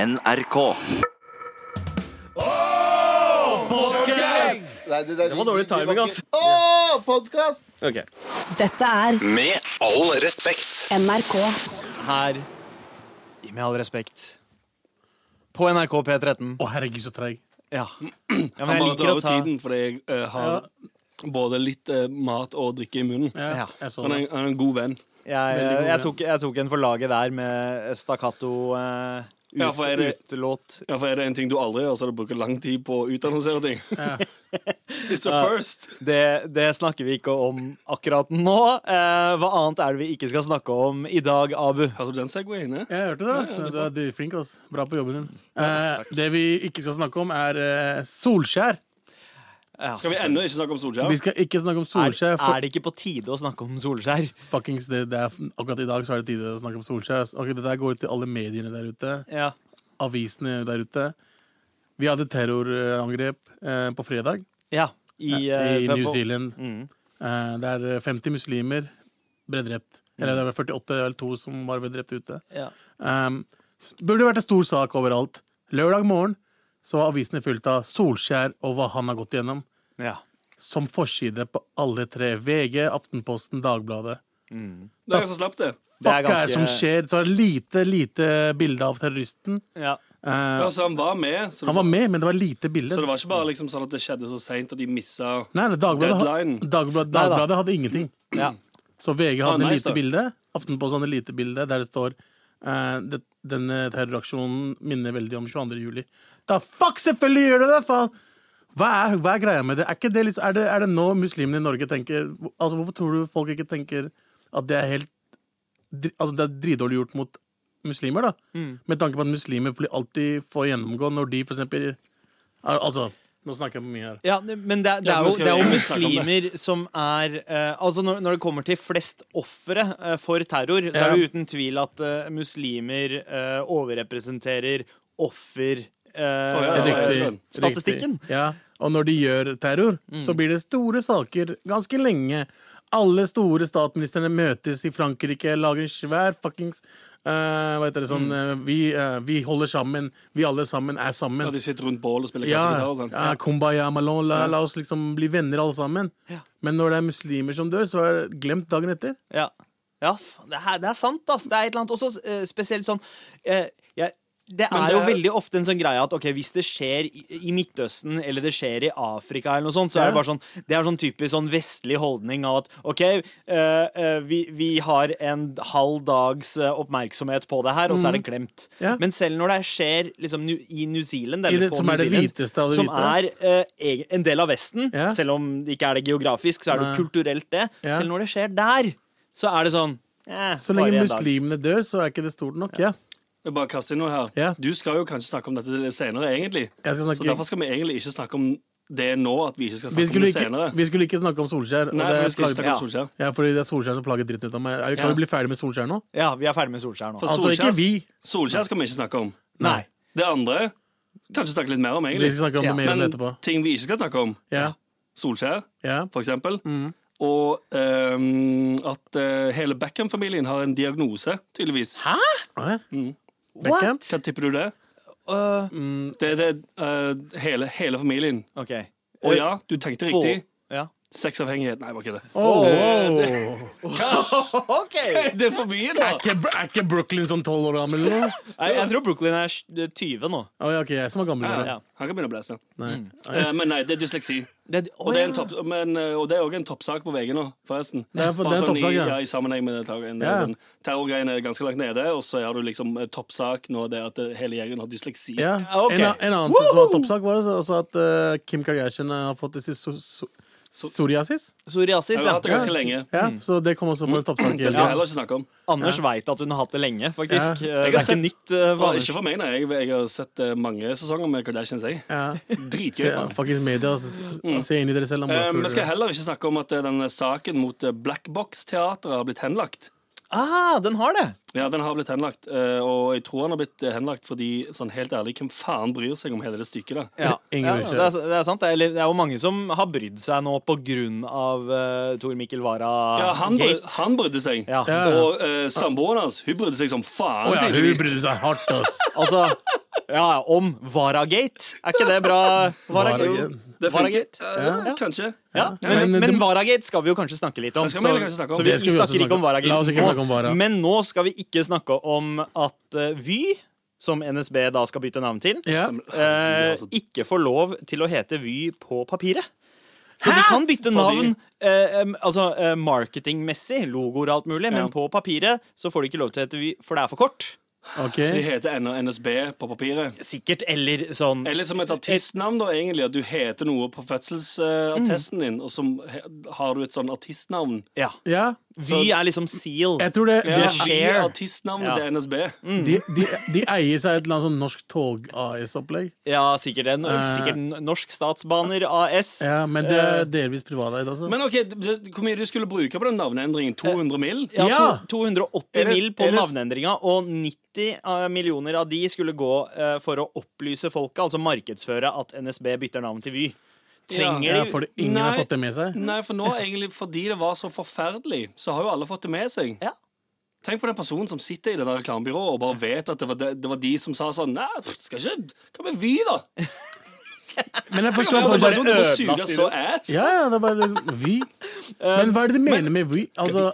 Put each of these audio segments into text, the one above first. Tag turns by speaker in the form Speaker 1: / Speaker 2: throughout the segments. Speaker 1: NRK.
Speaker 2: Nei, det, det,
Speaker 3: var dårlig timing, ass.
Speaker 2: Åh, podcast!
Speaker 3: Ok.
Speaker 4: Dette er
Speaker 1: Med all respekt.
Speaker 4: NRK.
Speaker 5: her i Med all respekt på NRK P13.
Speaker 6: Å, herregud, så treg.
Speaker 5: Ja, ja men
Speaker 7: Han
Speaker 5: jeg
Speaker 7: bare
Speaker 5: liker
Speaker 7: drar
Speaker 5: å
Speaker 7: ut
Speaker 5: ta
Speaker 7: tiden, fordi jeg eh, har både litt eh, mat og drikke i munnen.
Speaker 6: Ja,
Speaker 5: Ja.
Speaker 6: jeg så
Speaker 7: Han er,
Speaker 6: det.
Speaker 7: en- han er en god venn.
Speaker 5: Jeg,
Speaker 6: Veldig god,
Speaker 5: jeg,
Speaker 6: ja.
Speaker 5: tok, jeg tok en for laget der med stakkato eh, ut,
Speaker 7: Ja, for er det-
Speaker 5: utelåt.
Speaker 7: Ja, for Er det en ting du aldri gjør, så er det å bruke lang tid på å utannonsere ting. It's a
Speaker 5: Ja.
Speaker 7: first.
Speaker 5: Det, det snakker vi ikke om akkurat nå. Eh, hva annet er det vi ikke skal snakke om i dag, Abu?
Speaker 7: Hørte du den segwayen? eh?
Speaker 6: Jeg hørte det. ass. Du er dritflink. ass. Bra på jobben din. Eh, det vi ikke skal snakke om, er eh, Solskjær.
Speaker 5: Ja,
Speaker 7: Skal vi
Speaker 5: selvfølgelig.
Speaker 7: ennå ikke snakke om Solskjær?
Speaker 6: Vi skal ikke snakke om
Speaker 5: er,
Speaker 6: Solskjær. For
Speaker 5: er det ikke på tide å snakke om Solskjær?
Speaker 6: fuckings det, det er, akkurat i dag så er det tide å snakke om Solskjær. ass. Ok, det der går ut til alle mediene der ute.
Speaker 5: Ja.
Speaker 6: Avisene der ute. Vi hadde terrorangrep eh, på fredag
Speaker 5: ja. I, eh,
Speaker 6: i
Speaker 5: på-
Speaker 6: New Zealand.
Speaker 5: Mm.
Speaker 6: Eh, der 50 muslimer ble drept. Eller det var 48 eller 2 som bare ble drept ute.
Speaker 5: Ja.
Speaker 6: Um, burde vært en stor sak overalt. Lørdag morgen så var avisene fylt av Solskjær og hva han har gått gjennom.
Speaker 5: ja.
Speaker 6: Som forside på alle tre. VG, Aftenposten, Dagbladet.
Speaker 7: Det er jeg som slapp det.
Speaker 6: Fuck er,
Speaker 5: ganske-
Speaker 6: det som skjer? Så er det lite, lite bilde av terroristen.
Speaker 5: ja.
Speaker 6: Eh,
Speaker 7: Ja, så han var med. Så det,
Speaker 6: han var med, men det var lite bilde.
Speaker 7: så det var ikke bare liksom sånn at det skjedde så seint at de missa
Speaker 6: Nei, nei, Dagbladet,
Speaker 7: Deadline.
Speaker 6: Dagbladet,
Speaker 5: Nei da.
Speaker 6: Dagbladet hadde ingenting.
Speaker 5: ja.
Speaker 6: Så VG
Speaker 7: Ah,
Speaker 6: hadde
Speaker 7: nice,
Speaker 6: lite
Speaker 7: da.
Speaker 6: bilde. Aftenposten hadde lite bilde der det står eh, det, Denne terroraksjonen minner veldig om 22. juli. Da fuck, selvfølgelig gjør det det! Faen! Hva er, hva er greia med det? Er, ikke det, liksom, er, det, er det nå muslimene i Norge tenker Altså, Hvorfor tror du folk ikke tenker at det er helt dri- Altså, det er dritdårlig gjort mot muslimer, da?
Speaker 7: Mm.
Speaker 6: Med tanke på at muslimer blir alltid får gjennomgå når de for eksempel al- Altså, nå snakker jeg på mye her.
Speaker 5: Ja, men det, er- det,
Speaker 7: Ja,
Speaker 5: er,
Speaker 7: nå
Speaker 5: jo,
Speaker 7: skal
Speaker 5: det er jo
Speaker 7: vi snakke om
Speaker 5: muslimer som er eh, Altså når, når det kommer til flest ofre eh, for terror, så
Speaker 6: Ja.
Speaker 5: er det uten tvil at eh, muslimer eh, overrepresenterer offer eh,
Speaker 7: ja, ja, ja.
Speaker 6: Riktig.
Speaker 5: Statistikken. Mm.
Speaker 6: Riktig. Ja. Og når de gjør terror, så blir det store saker ganske lenge. Alle store statsministrene møtes i Frankrike, lager svær fuckings eh, Hva heter det sånn
Speaker 5: Mm.
Speaker 6: eh, vi, eh, vi holder sammen. Vi alle sammen er sammen.
Speaker 7: at de sitter rundt bål og spiller
Speaker 6: Ja,
Speaker 7: kassegitar og sånn.
Speaker 6: ja, kumbaya, malon, la, la oss liksom bli venner alle sammen.
Speaker 5: Ja.
Speaker 6: Men når det er muslimer som dør, så er det glemt dagen etter.
Speaker 5: Ja, ja f- det, er, det er sant, ass. Det er et eller annet også eh, spesielt sånn eh, jeg, det er
Speaker 7: det
Speaker 5: jo
Speaker 7: er-
Speaker 5: veldig ofte en sånn greie at ok, hvis det skjer i, i Midtøsten eller det skjer i Afrika, eller noe sånt, så er det
Speaker 6: Ja.
Speaker 5: bare sånn Det er sånn typisk sånn vestlig holdning av at OK, eh, eh, vi, vi har en halv dags eh, oppmerksomhet på det her, og så er det glemt.
Speaker 6: Mm. Ja.
Speaker 5: Men selv når det skjer liksom, nu, i New Zealand,
Speaker 6: I
Speaker 5: eller
Speaker 6: det-
Speaker 5: på
Speaker 6: som
Speaker 5: New
Speaker 6: er det
Speaker 5: Zealand,
Speaker 6: hviteste av det
Speaker 5: som
Speaker 6: hvite.
Speaker 5: er er eh, egen- en del av Vesten,
Speaker 6: Ja.
Speaker 5: selv om det ikke er det geografisk, så er det jo
Speaker 6: Nei.
Speaker 5: kulturelt det.
Speaker 6: Ja.
Speaker 5: Selv når det skjer der, så er det sånn eh,
Speaker 6: Så
Speaker 5: bare
Speaker 6: lenge
Speaker 5: en dag.
Speaker 6: muslimene dør, så er ikke det stort nok. Ja.
Speaker 7: Jeg bare kaster inn noe her.
Speaker 6: Ja.
Speaker 7: Du skal jo kanskje snakke om dette senere, egentlig.
Speaker 6: Jeg skal
Speaker 7: Så derfor
Speaker 6: snakke,
Speaker 7: skal vi egentlig ikke snakke om det nå, at vi ikke skal
Speaker 6: vi,
Speaker 7: snakke om
Speaker 6: skulle
Speaker 7: det
Speaker 6: ikke,
Speaker 7: senere.
Speaker 6: vi skulle ikke snakke om Solskjær. og
Speaker 7: Nei,
Speaker 6: det
Speaker 7: for vi skal
Speaker 6: plagde-
Speaker 7: ikke snakke om Solskjær.
Speaker 6: Ja, fordi det er Solskjær som plager dritten ut av meg. Er vi- Kan
Speaker 7: Ja.
Speaker 6: vi bli ferdig med Solskjær nå?
Speaker 5: Ja, vi er ferdig med Solskjær nå.
Speaker 7: For
Speaker 6: Altså, ikke
Speaker 7: Solskjær-
Speaker 6: vi.
Speaker 7: Solskjær skal vi ikke snakke om.
Speaker 5: Nei.
Speaker 7: Det andre kanskje snakke litt mer om,
Speaker 6: Vi
Speaker 7: egentlig.
Speaker 6: skal snakke om
Speaker 5: Ja,
Speaker 6: det mer enn etterpå.
Speaker 7: Men ting vi ikke skal snakke om,
Speaker 6: Ja,
Speaker 7: Solskjær
Speaker 6: ja.
Speaker 7: for eksempel,
Speaker 6: Mm.
Speaker 7: og ehm, at eh, hele Beckham-familien har en diagnose, tydeligvis.
Speaker 5: Hæ?
Speaker 6: Nei. Beckham?
Speaker 5: What?
Speaker 7: Hva tipper du det? Mm.
Speaker 5: Øh,
Speaker 7: Det er det eh, hele, hele familien.
Speaker 5: OK.
Speaker 7: Og ja, du tenkte
Speaker 5: På-
Speaker 7: riktig.
Speaker 5: Ja.
Speaker 7: Sexavhengighet. Nei, det var ikke det.
Speaker 6: Åh.
Speaker 5: OK! Nei,
Speaker 7: Det er for mye, da!
Speaker 6: Er ikke, er ikke Brooklyn sånn tolv år gammel eller noe?
Speaker 5: jeg tror Brooklyn er sj- 20 nå.
Speaker 6: Å, ja, ok, jeg som er gammel.
Speaker 7: Ja,
Speaker 6: Ja,
Speaker 7: ja. Han kan begynne å blæse.
Speaker 6: Nei.
Speaker 7: Eh, men nei, det er dysleksi. Og det er en topp, men, eh, og det er også en toppsak på VG nå, forresten.
Speaker 6: Det er for-
Speaker 7: Bare
Speaker 6: det er en
Speaker 7: sånn
Speaker 6: toppsak,
Speaker 7: i,
Speaker 6: ja.
Speaker 7: ja, I sammenheng med det, terror- det er
Speaker 6: Ja.
Speaker 7: sånn, terrorgreiene er ganske langt nede, og så har du liksom eh, toppsak nå det at eh, hele gjengen har dysleksi.
Speaker 6: Ja.
Speaker 5: Ok.
Speaker 6: En, a- en annen ting som var toppsak, var også- også at eh, Kim Kardashian har fått i so so psoriasis.
Speaker 5: Psoriasis.
Speaker 7: Jeg har
Speaker 5: Ja.
Speaker 7: hatt det ganske lenge.
Speaker 6: Ja, Så det kom også på en toppsak.
Speaker 7: Det skal jeg heller ikke snakke om.
Speaker 5: Anders veit at hun har hatt det lenge, faktisk. Eh,
Speaker 7: Jeg
Speaker 6: Ja.
Speaker 5: Det
Speaker 7: har
Speaker 5: er ikke
Speaker 7: sett-
Speaker 5: nytt eh, for
Speaker 7: Og
Speaker 5: Anders.
Speaker 7: ikke for meg, nei. Jeg, jeg har sett eh, mange sesonger med Kardashians, jeg.
Speaker 6: Ja.
Speaker 7: Dritgøy.
Speaker 6: Se,
Speaker 7: faen.
Speaker 6: faktisk media, s- se inn i dere selv. om
Speaker 7: Eh,
Speaker 6: dere
Speaker 7: Vi skal
Speaker 6: tror det.
Speaker 7: heller ikke snakke om at eh, denne saken mot eh, Black Box-teatret har blitt henlagt.
Speaker 5: Ah, den har det!
Speaker 7: Ja, den har blitt henlagt, eh, og jeg tror han har blitt eh, henlagt fordi, sånn helt ærlig, hvem faen bryr seg om hele det stykket der?
Speaker 5: Ja,
Speaker 6: Ingen
Speaker 5: ja
Speaker 6: bryr
Speaker 5: det,
Speaker 6: seg.
Speaker 5: er, det er sant. Det er, eller, det er jo mange som har brydd seg nå på grunn av uh, Tor Mikkel Wara
Speaker 7: Ja, han, bry,
Speaker 5: Gate.
Speaker 7: han brydde seg.
Speaker 5: Ja.
Speaker 6: Ja.
Speaker 7: Og eh, samboeren hans, hun brydde seg som faen.
Speaker 6: Å ja, hun
Speaker 7: tydeligvis.
Speaker 6: brydde seg hardt, ass.
Speaker 5: Altså, Ja, ja, om Varagate. Er ikke det bra? Varagate.
Speaker 6: Varagate.
Speaker 7: Det funker.
Speaker 5: Varagate?
Speaker 7: Eh, Kanskje.
Speaker 5: Ja, men,
Speaker 6: Men det-
Speaker 5: men Varagate skal vi jo kanskje snakke litt om.
Speaker 7: Det
Speaker 5: Så,
Speaker 7: skal vi kanskje snakke om.
Speaker 5: så vi,
Speaker 6: Det skal vi også
Speaker 5: snakker
Speaker 6: snakke
Speaker 5: ikke om
Speaker 6: om.
Speaker 5: Varagate
Speaker 6: La oss ikke
Speaker 5: nå.
Speaker 6: snakke om Vara.
Speaker 5: Men nå skal vi ikke snakke om at eh, Vy, som NSB da skal bytte navn til,
Speaker 6: Ja.
Speaker 7: Stemmer.
Speaker 5: eh,
Speaker 7: Herregud, altså.
Speaker 5: ikke får lov til å hete Vy på papiret. Så
Speaker 6: Hæ?
Speaker 5: de kan bytte
Speaker 7: Fordi-
Speaker 5: navn eh, em, altså, eh, marketingmessig, logoer og alt mulig,
Speaker 7: Ja.
Speaker 5: men på papiret så får de ikke lov til å hete Vy, for det er for kort.
Speaker 6: Ok.
Speaker 7: Så de heter N- NSB på papiret.
Speaker 5: Sikkert, eller sånn
Speaker 7: Eller som et artistnavn, da, egentlig. At du heter noe på fødselsattesten din, og så he- har du et sånn artistnavn.
Speaker 5: ja.
Speaker 6: Ja,
Speaker 5: Vy er liksom Seal.
Speaker 6: jeg tror det,
Speaker 7: Ja,
Speaker 6: det
Speaker 7: vi
Speaker 5: Share.
Speaker 7: er artistnavnet til NSB.
Speaker 6: de, de, de eier seg et eller annet sånn Norsk Tog AS-opplegg.
Speaker 5: Ja, sikkert det. Sikkert Norsk Statsbaner AS.
Speaker 6: Eh. Ja, men det er delvis privateid også.
Speaker 7: Men ok, d- d- Hvor mye du skulle bruke på den navneendringen? 200 mill.?
Speaker 5: Ja,
Speaker 6: Ja.
Speaker 5: to, 280
Speaker 7: Er det-
Speaker 5: mil på
Speaker 7: er det-
Speaker 5: navneendringa, og 90 av millioner av de skulle gå eh, for å opplyse folket, altså markedsføre at NSB bytter navn til Vy. Trenger
Speaker 6: ja,
Speaker 5: de
Speaker 6: fordi ingen har
Speaker 7: Nei.
Speaker 6: fått det med seg.
Speaker 7: Nei, for nå egentlig fordi det var så forferdelig, så har jo alle fått det med seg.
Speaker 5: Ja.
Speaker 7: Tenk på den personen som sitter i det der reklamebyrået og bare vet at det var de, det var de som sa sånn Nei, pff, skal ikke Hva med Vy, da?
Speaker 6: Men
Speaker 7: Det kan
Speaker 6: jeg forstår
Speaker 7: være
Speaker 5: bare
Speaker 7: en person som må
Speaker 5: ødela
Speaker 7: suge
Speaker 5: sier
Speaker 7: så
Speaker 5: du.
Speaker 7: ass.
Speaker 6: sånn- Ja, ja, det er bare liksom, Vy. Men hva er det de mener med Vy? Altså,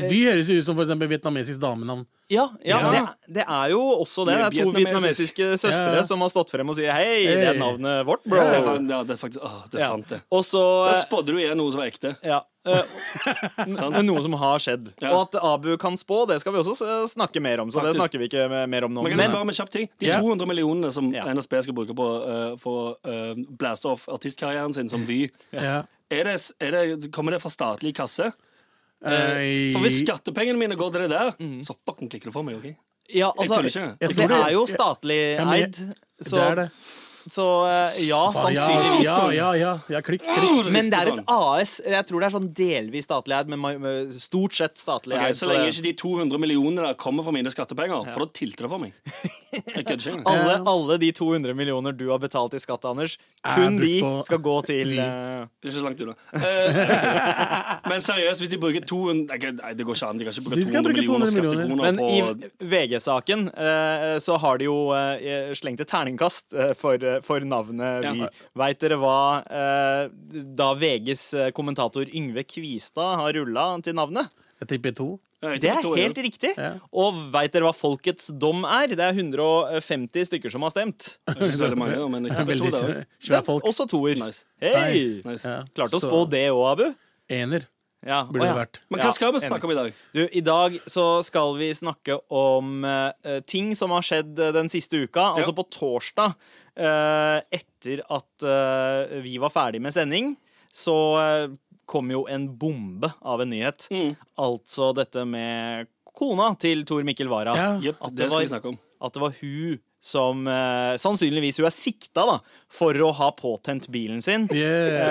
Speaker 6: Vy høres jo ut som for eksempel vietnamesisk damenavn.
Speaker 5: Ja, ja,
Speaker 7: Ja.
Speaker 5: Det, er- det er jo også det. Det er to
Speaker 7: Vietnamesisk.
Speaker 5: vietnamesiske søstre
Speaker 6: Ja.
Speaker 5: som har stått frem og sier hei,
Speaker 6: Hei.
Speaker 5: det er navnet vårt, bro.
Speaker 7: Det er, fa- ja, det er faktisk Åh, det er
Speaker 5: Ja.
Speaker 7: sant, det.
Speaker 5: Og så
Speaker 7: Da
Speaker 5: eh,
Speaker 7: spådde du igjen noe som var ekte.
Speaker 5: Ja. eh, n- men noe som har skjedd.
Speaker 7: Ja.
Speaker 5: Og at Abu kan spå, det skal vi også s- snakke mer om. Så det
Speaker 7: Faktisk.
Speaker 5: snakker vi ikke eh, mer om nå.
Speaker 7: Men kan jeg
Speaker 5: Men
Speaker 7: spørre om en kjapp ting? De
Speaker 6: Ja.
Speaker 7: 200 millionene som
Speaker 5: Ja.
Speaker 7: NSB skal bruke på eh, for å eh, blaste off artistkarrieren sin som Vy,
Speaker 6: Ja.
Speaker 7: er det, er det, kommer det fra statlig kasse?
Speaker 6: Eh,
Speaker 7: For hvis skattepengene mine går til det der,
Speaker 5: Mm.
Speaker 7: så fucking klikker du for meg. ok?
Speaker 5: ja, altså,
Speaker 7: tuller ikke. Jeg
Speaker 5: det
Speaker 6: tror det-
Speaker 5: er jo statlig
Speaker 6: Ja, men jeg-
Speaker 5: eid,
Speaker 6: det
Speaker 5: så
Speaker 6: er det.
Speaker 5: Så eh, ja,
Speaker 6: Ja,
Speaker 5: sannsynligvis.
Speaker 6: ja, ja, ja, ja. Klikk, klikk.
Speaker 5: Men det er et
Speaker 7: Sånn.
Speaker 5: AS. Jeg tror det er sånn delvis statlig eid, men ma- med stort sett statlig
Speaker 7: Ok,
Speaker 5: eid.
Speaker 7: så
Speaker 5: så
Speaker 7: lenge
Speaker 5: det-
Speaker 7: ikke de 200 millionene der kommer fra mine skattepenger, for da tilter det for meg. Jeg kødder ikke.
Speaker 5: alle,
Speaker 6: Eh.
Speaker 5: alle de 200 millioner du har betalt i skatt, Anders, kun
Speaker 6: brukt
Speaker 5: de
Speaker 6: på-
Speaker 5: skal gå til
Speaker 6: Vi.
Speaker 5: eh,
Speaker 7: Det er ikke så langt unna. Eh, men seriøst, hvis de bruker 200 Nei, Nei, det går ikke an. De kan ikke bruke
Speaker 6: De skal
Speaker 7: 200
Speaker 6: bruke
Speaker 7: millioner
Speaker 6: 200 millioner.
Speaker 7: skattekroner
Speaker 5: Men i
Speaker 7: på
Speaker 5: VG-saken eh, så har de jo eh, slengt et terningkast eh, for, for navnet
Speaker 7: Ja.
Speaker 5: Vy. Veit dere hva eh, da VGs kommentator Yngve Kvistad har rulla til navnet?
Speaker 6: Jeg tipper to.
Speaker 7: Jeg
Speaker 5: Det
Speaker 7: tipper
Speaker 5: er
Speaker 7: to, ja.
Speaker 5: helt riktig. Og veit dere hva folkets dom er? Det er 150 stykker som har stemt.
Speaker 7: Det er Ikke så veldig mange, da, men jeg tipper
Speaker 6: Veldig
Speaker 7: to der også.
Speaker 6: svære folk.
Speaker 5: Også toer.
Speaker 7: Nice.
Speaker 5: Hei!
Speaker 6: Nice,
Speaker 7: nice.
Speaker 6: Ja.
Speaker 5: Klarte å
Speaker 6: Så
Speaker 5: spå det òg, Abu.
Speaker 6: Ener
Speaker 5: Ja. å
Speaker 6: burde det
Speaker 5: ja.
Speaker 6: vært.
Speaker 7: Men
Speaker 5: Ja,
Speaker 7: hva skal vi snakke om i dag?
Speaker 5: Du, I dag så skal vi snakke om eh, ting som har skjedd eh, den siste uka. Altså på torsdag, eh, etter at eh, vi var ferdig med sending, så eh, kom jo en bombe av en nyhet.
Speaker 7: Mm.
Speaker 5: Altså dette med kona til Tor Mikkel Wara.
Speaker 6: Ja.
Speaker 7: Jepp,
Speaker 5: At det
Speaker 7: det skal vi
Speaker 5: var-
Speaker 7: snakke om.
Speaker 5: At det var hun som eh, Sannsynligvis hun er sikta da, for å ha påtent bilen sin.
Speaker 6: Yeah.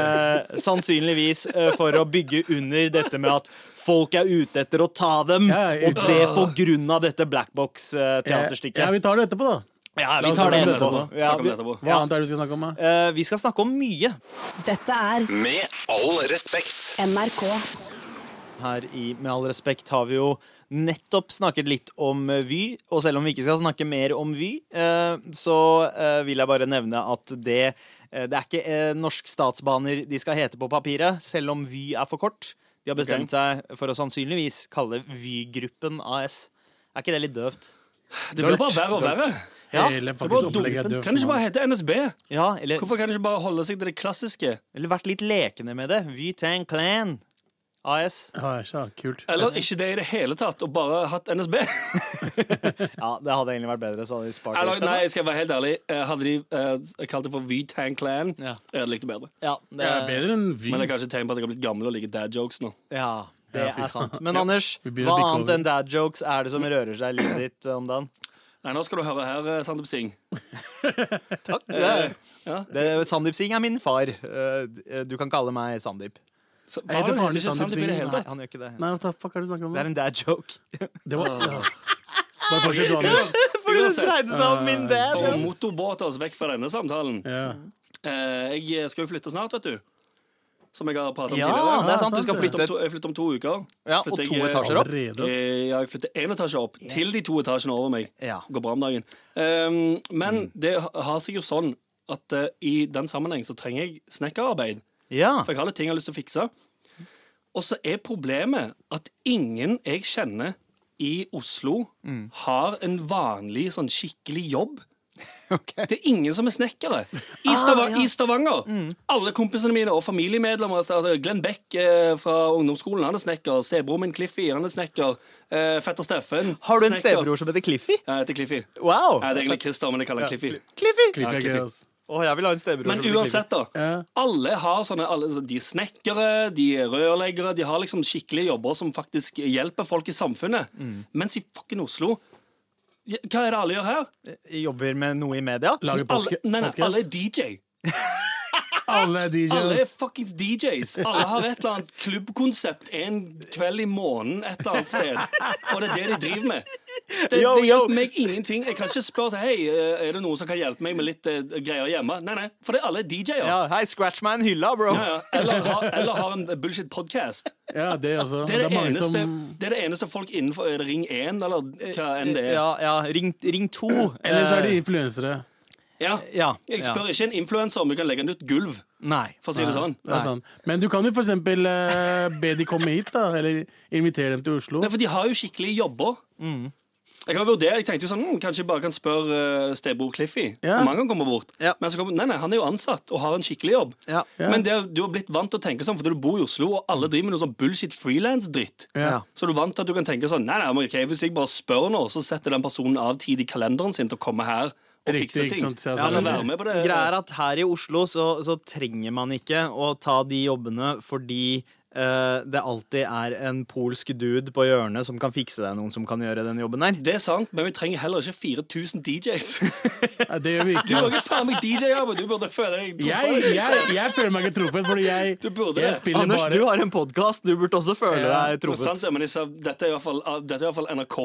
Speaker 5: Eh, sannsynligvis eh, for å bygge under dette med at folk er ute etter å ta dem,
Speaker 6: Ja, ja,
Speaker 5: og det på grunn av dette Blackbox-teaterstykket.
Speaker 6: Eh, Ja, vi tar det etterpå, da.
Speaker 5: ja,
Speaker 6: la
Speaker 5: vi
Speaker 6: oss
Speaker 5: tar det
Speaker 6: snakke om det
Speaker 5: etterpå. Ja,
Speaker 6: etterpå.
Speaker 7: Snakke om
Speaker 5: vi,
Speaker 7: det etterpå.
Speaker 6: Hva annet er det du skal snakke om? da?
Speaker 5: eh, vi skal snakke om mye
Speaker 2: Dette er
Speaker 1: Med all respekt.
Speaker 2: NRK.
Speaker 5: her i Med all respekt har vi jo nettopp snakket litt om eh, Vy, og selv om vi ikke skal snakke mer om Vy, eh, så eh, vil jeg bare nevne at det eh, det er ikke eh, norsk statsbaner de skal hete på papiret, selv om Vy er for kort. De har bestemt seg for å sannsynligvis kalle Vy-gruppen AS. Er ikke det litt døvt?
Speaker 7: Det blir bare verre og verre.
Speaker 5: Ja.
Speaker 6: Hele
Speaker 7: Det
Speaker 6: Eh,
Speaker 7: blir
Speaker 6: faktisk opplegget er
Speaker 7: dumpen.
Speaker 6: døvt.
Speaker 7: Kan det ikke bare hete NSB?
Speaker 5: Ja, eller,
Speaker 7: Hvorfor kan det ikke bare holde seg til det klassiske?
Speaker 5: eller vært litt lekende med det. Vy Tang Clan AS.
Speaker 6: Ja, ja, kult.
Speaker 7: Eller ikke det i det hele tatt, og bare hatt NSB?
Speaker 5: Ja, det hadde egentlig vært bedre, så hadde vi spart
Speaker 7: Eller,
Speaker 5: litt.
Speaker 7: nei, jeg skal være helt ærlig. eh, Hadde de eh, kalt det for V-Tang Clan,
Speaker 5: Ja.
Speaker 7: jeg hadde likt det bedre.
Speaker 5: Ja, det,
Speaker 6: Det er bedre enn Vy.
Speaker 7: eh, Men det er kanskje et tegn på at jeg har blitt gammel og liker dad jokes nå.
Speaker 5: Ja, det
Speaker 6: Ja, fy
Speaker 5: er sant. Men
Speaker 6: Ja.
Speaker 5: Anders,
Speaker 6: Vi begynner
Speaker 5: hva
Speaker 6: å bikke
Speaker 5: annet
Speaker 6: over.
Speaker 5: enn dad jokes er det som rører seg i livet ditt om dagen?
Speaker 7: Nei, nå skal du høre her, eh, Sandeep Singh.
Speaker 5: Takk. Det,
Speaker 7: ja.
Speaker 5: det, Sandeep Singh er min far. Eh, Du kan kalle meg Sandeep.
Speaker 7: Så,
Speaker 6: Jeg
Speaker 7: faren heter
Speaker 6: heter faren til
Speaker 7: ikke
Speaker 6: Sandeep
Speaker 7: Sandeep i det
Speaker 6: Singh.
Speaker 5: Nei,
Speaker 7: hele tatt.
Speaker 5: han gjør ikke det.
Speaker 6: Nei, hva fuck er det du snakker om?
Speaker 5: Det er en dad joke.
Speaker 6: Det var ja. Bare fortsett, du, Anders.
Speaker 5: Fordi det dreide seg om min dad.
Speaker 7: For å motorbåte oss vekk fra denne samtalen.
Speaker 6: Ja.
Speaker 7: Eh, Jeg skal jo flytte snart, vet du. Som jeg har pratet om
Speaker 5: Ja,
Speaker 7: tidligere.
Speaker 5: det er sant. Du skal
Speaker 6: sant,
Speaker 7: Jeg flytter
Speaker 5: flytte
Speaker 7: om to, jeg flytter om to uker.
Speaker 5: ja, og
Speaker 7: Flytter
Speaker 5: to
Speaker 7: jeg-
Speaker 5: etasjer opp.
Speaker 6: Allerede. ass.
Speaker 7: Eh, Ja, jeg flytter én etasje opp, til de to etasjene over meg.
Speaker 5: Ja. Mm.
Speaker 7: Går bra om dagen. Ehm, men det ha- har seg jo sånn at eh, i den sammenheng så trenger jeg snekkerarbeid.
Speaker 5: Ja.
Speaker 7: For jeg har litt ting jeg har lyst til å fikse. Og så er problemet at ingen jeg kjenner i Oslo
Speaker 5: Mm.
Speaker 7: har en vanlig sånn skikkelig jobb.
Speaker 5: ok. Ah,
Speaker 7: Det er ingen som er snekkere. I, Stava i Stavanger.
Speaker 5: Mm.
Speaker 7: Alle kompisene mine og familiemedlemmer. Altså, altså, Glenn Beck eh, fra ungdomsskolen, han er snekker. Stebroren min Cliffy, han er snekker. Eh, fetter Steffen.
Speaker 5: Har du en
Speaker 7: snekker.
Speaker 5: stebror som heter Cliffy?
Speaker 7: Ja, Jeg heter Cliffy. Nei,
Speaker 5: Wow!
Speaker 7: det er egentlig Christer, men jeg kaller han Cliffy.
Speaker 5: Cliffy!
Speaker 6: Klipp er
Speaker 7: Ja,
Speaker 6: gøy,
Speaker 7: klipp.
Speaker 6: ass.
Speaker 5: Å, jeg vil ha en stebror
Speaker 7: Men
Speaker 5: som heter Cliffy.
Speaker 7: uansett, da.
Speaker 6: Ja.
Speaker 7: Alle har sånne alle, så De er snekkere, de er rørleggere, de har liksom skikkelige jobber som faktisk hjelper folk i samfunnet. Mens i fucking Oslo ja, Hva er det alle gjør her?
Speaker 5: Jobber med noe i media?
Speaker 6: Lager
Speaker 7: Alle,
Speaker 6: podca-
Speaker 7: nei, nei,
Speaker 6: podcast.
Speaker 7: alle er DJ.
Speaker 6: Alle er
Speaker 7: Alle er
Speaker 6: DJs.
Speaker 7: fuckings DJs. Alle har et eller annet klubbkonsept en kveld i måneden et eller annet sted. Og det er det de driver med. Det,
Speaker 5: Yo,
Speaker 7: det
Speaker 5: yo.
Speaker 7: hjelper meg ingenting. Jeg kan ikke spørre til, Hei, eh, er det noen som kan hjelpe meg med litt eh, greier hjemme. Nei, nei, for det er alle DJ-er.
Speaker 5: Ja, hei, scratch meg en hylla, bro.
Speaker 7: Ja, ja. Eller, har, eller har en bullshit podcast
Speaker 6: Ja, det også.
Speaker 7: Det er det,
Speaker 6: mange
Speaker 7: eneste,
Speaker 6: som
Speaker 7: det er det eneste folk innenfor Er det Ring 1, eller hva enn det er?
Speaker 5: Ja, ja, ring, ring to.
Speaker 6: Eller så er de
Speaker 5: Eh,
Speaker 6: influensere.
Speaker 7: Ja.
Speaker 5: Ja.
Speaker 7: Jeg
Speaker 5: ja.
Speaker 7: spør ikke en influenser om du kan legge nytt gulv,
Speaker 5: Nei.
Speaker 7: for å si det sånn.
Speaker 6: Det er sant. Men du kan jo for eksempel eh, be de komme hit, da. Eller invitere dem til Oslo.
Speaker 7: Nei, for de har jo skikkelige jobber.
Speaker 5: Mm.
Speaker 7: Jeg har vurdert, jeg tenkte jo sånn, hm, Kanskje jeg bare kan spørre eh, stebror Cliffy
Speaker 6: Ja.
Speaker 7: om han kan komme bort.
Speaker 5: Ja.
Speaker 7: Men så kommer, nei, nei, han er jo ansatt og har en skikkelig jobb.
Speaker 5: Ja.
Speaker 6: Ja.
Speaker 7: Men det, du har blitt vant til å tenke sånn fordi du bor i Oslo, og alle driver med noe sånn bullshit frilans-dritt.
Speaker 6: Ja.
Speaker 7: Så er du vant til at du kan tenke sånn Nei, nei, men ok, hvis jeg bare spør nå, så setter den personen av tid i kalenderen sin til å komme her og
Speaker 6: Riktig,
Speaker 7: fikse
Speaker 6: ikke
Speaker 7: ting.
Speaker 6: sant? Ja,
Speaker 7: Så han
Speaker 6: sånn.
Speaker 7: vil være med på det.
Speaker 5: Greia er at her i Oslo så, så trenger man ikke å ta de jobbene fordi eh, det alltid er en polsk dude på hjørnet som kan fikse deg noen som kan gjøre den jobben der.
Speaker 7: Det er sant, men vi trenger heller ikke 4000 DJs.
Speaker 6: Ja, det gjør vi
Speaker 7: Du
Speaker 6: ikke.
Speaker 7: må
Speaker 6: ass.
Speaker 7: ikke ta meg DJ-jobb, du burde føle deg
Speaker 6: Jeg, jeg, jeg føler meg ikke truffet, fordi jeg,
Speaker 7: Du burde
Speaker 6: jeg
Speaker 7: det.
Speaker 6: spiller
Speaker 5: Anders,
Speaker 6: bare
Speaker 5: du har en podkast. Du burde også føle
Speaker 6: Ja,
Speaker 5: deg
Speaker 7: Det er sant,
Speaker 5: truffet.
Speaker 7: det, men jeg ser, dette, er i hvert fall, ah, dette er i hvert fall NRK.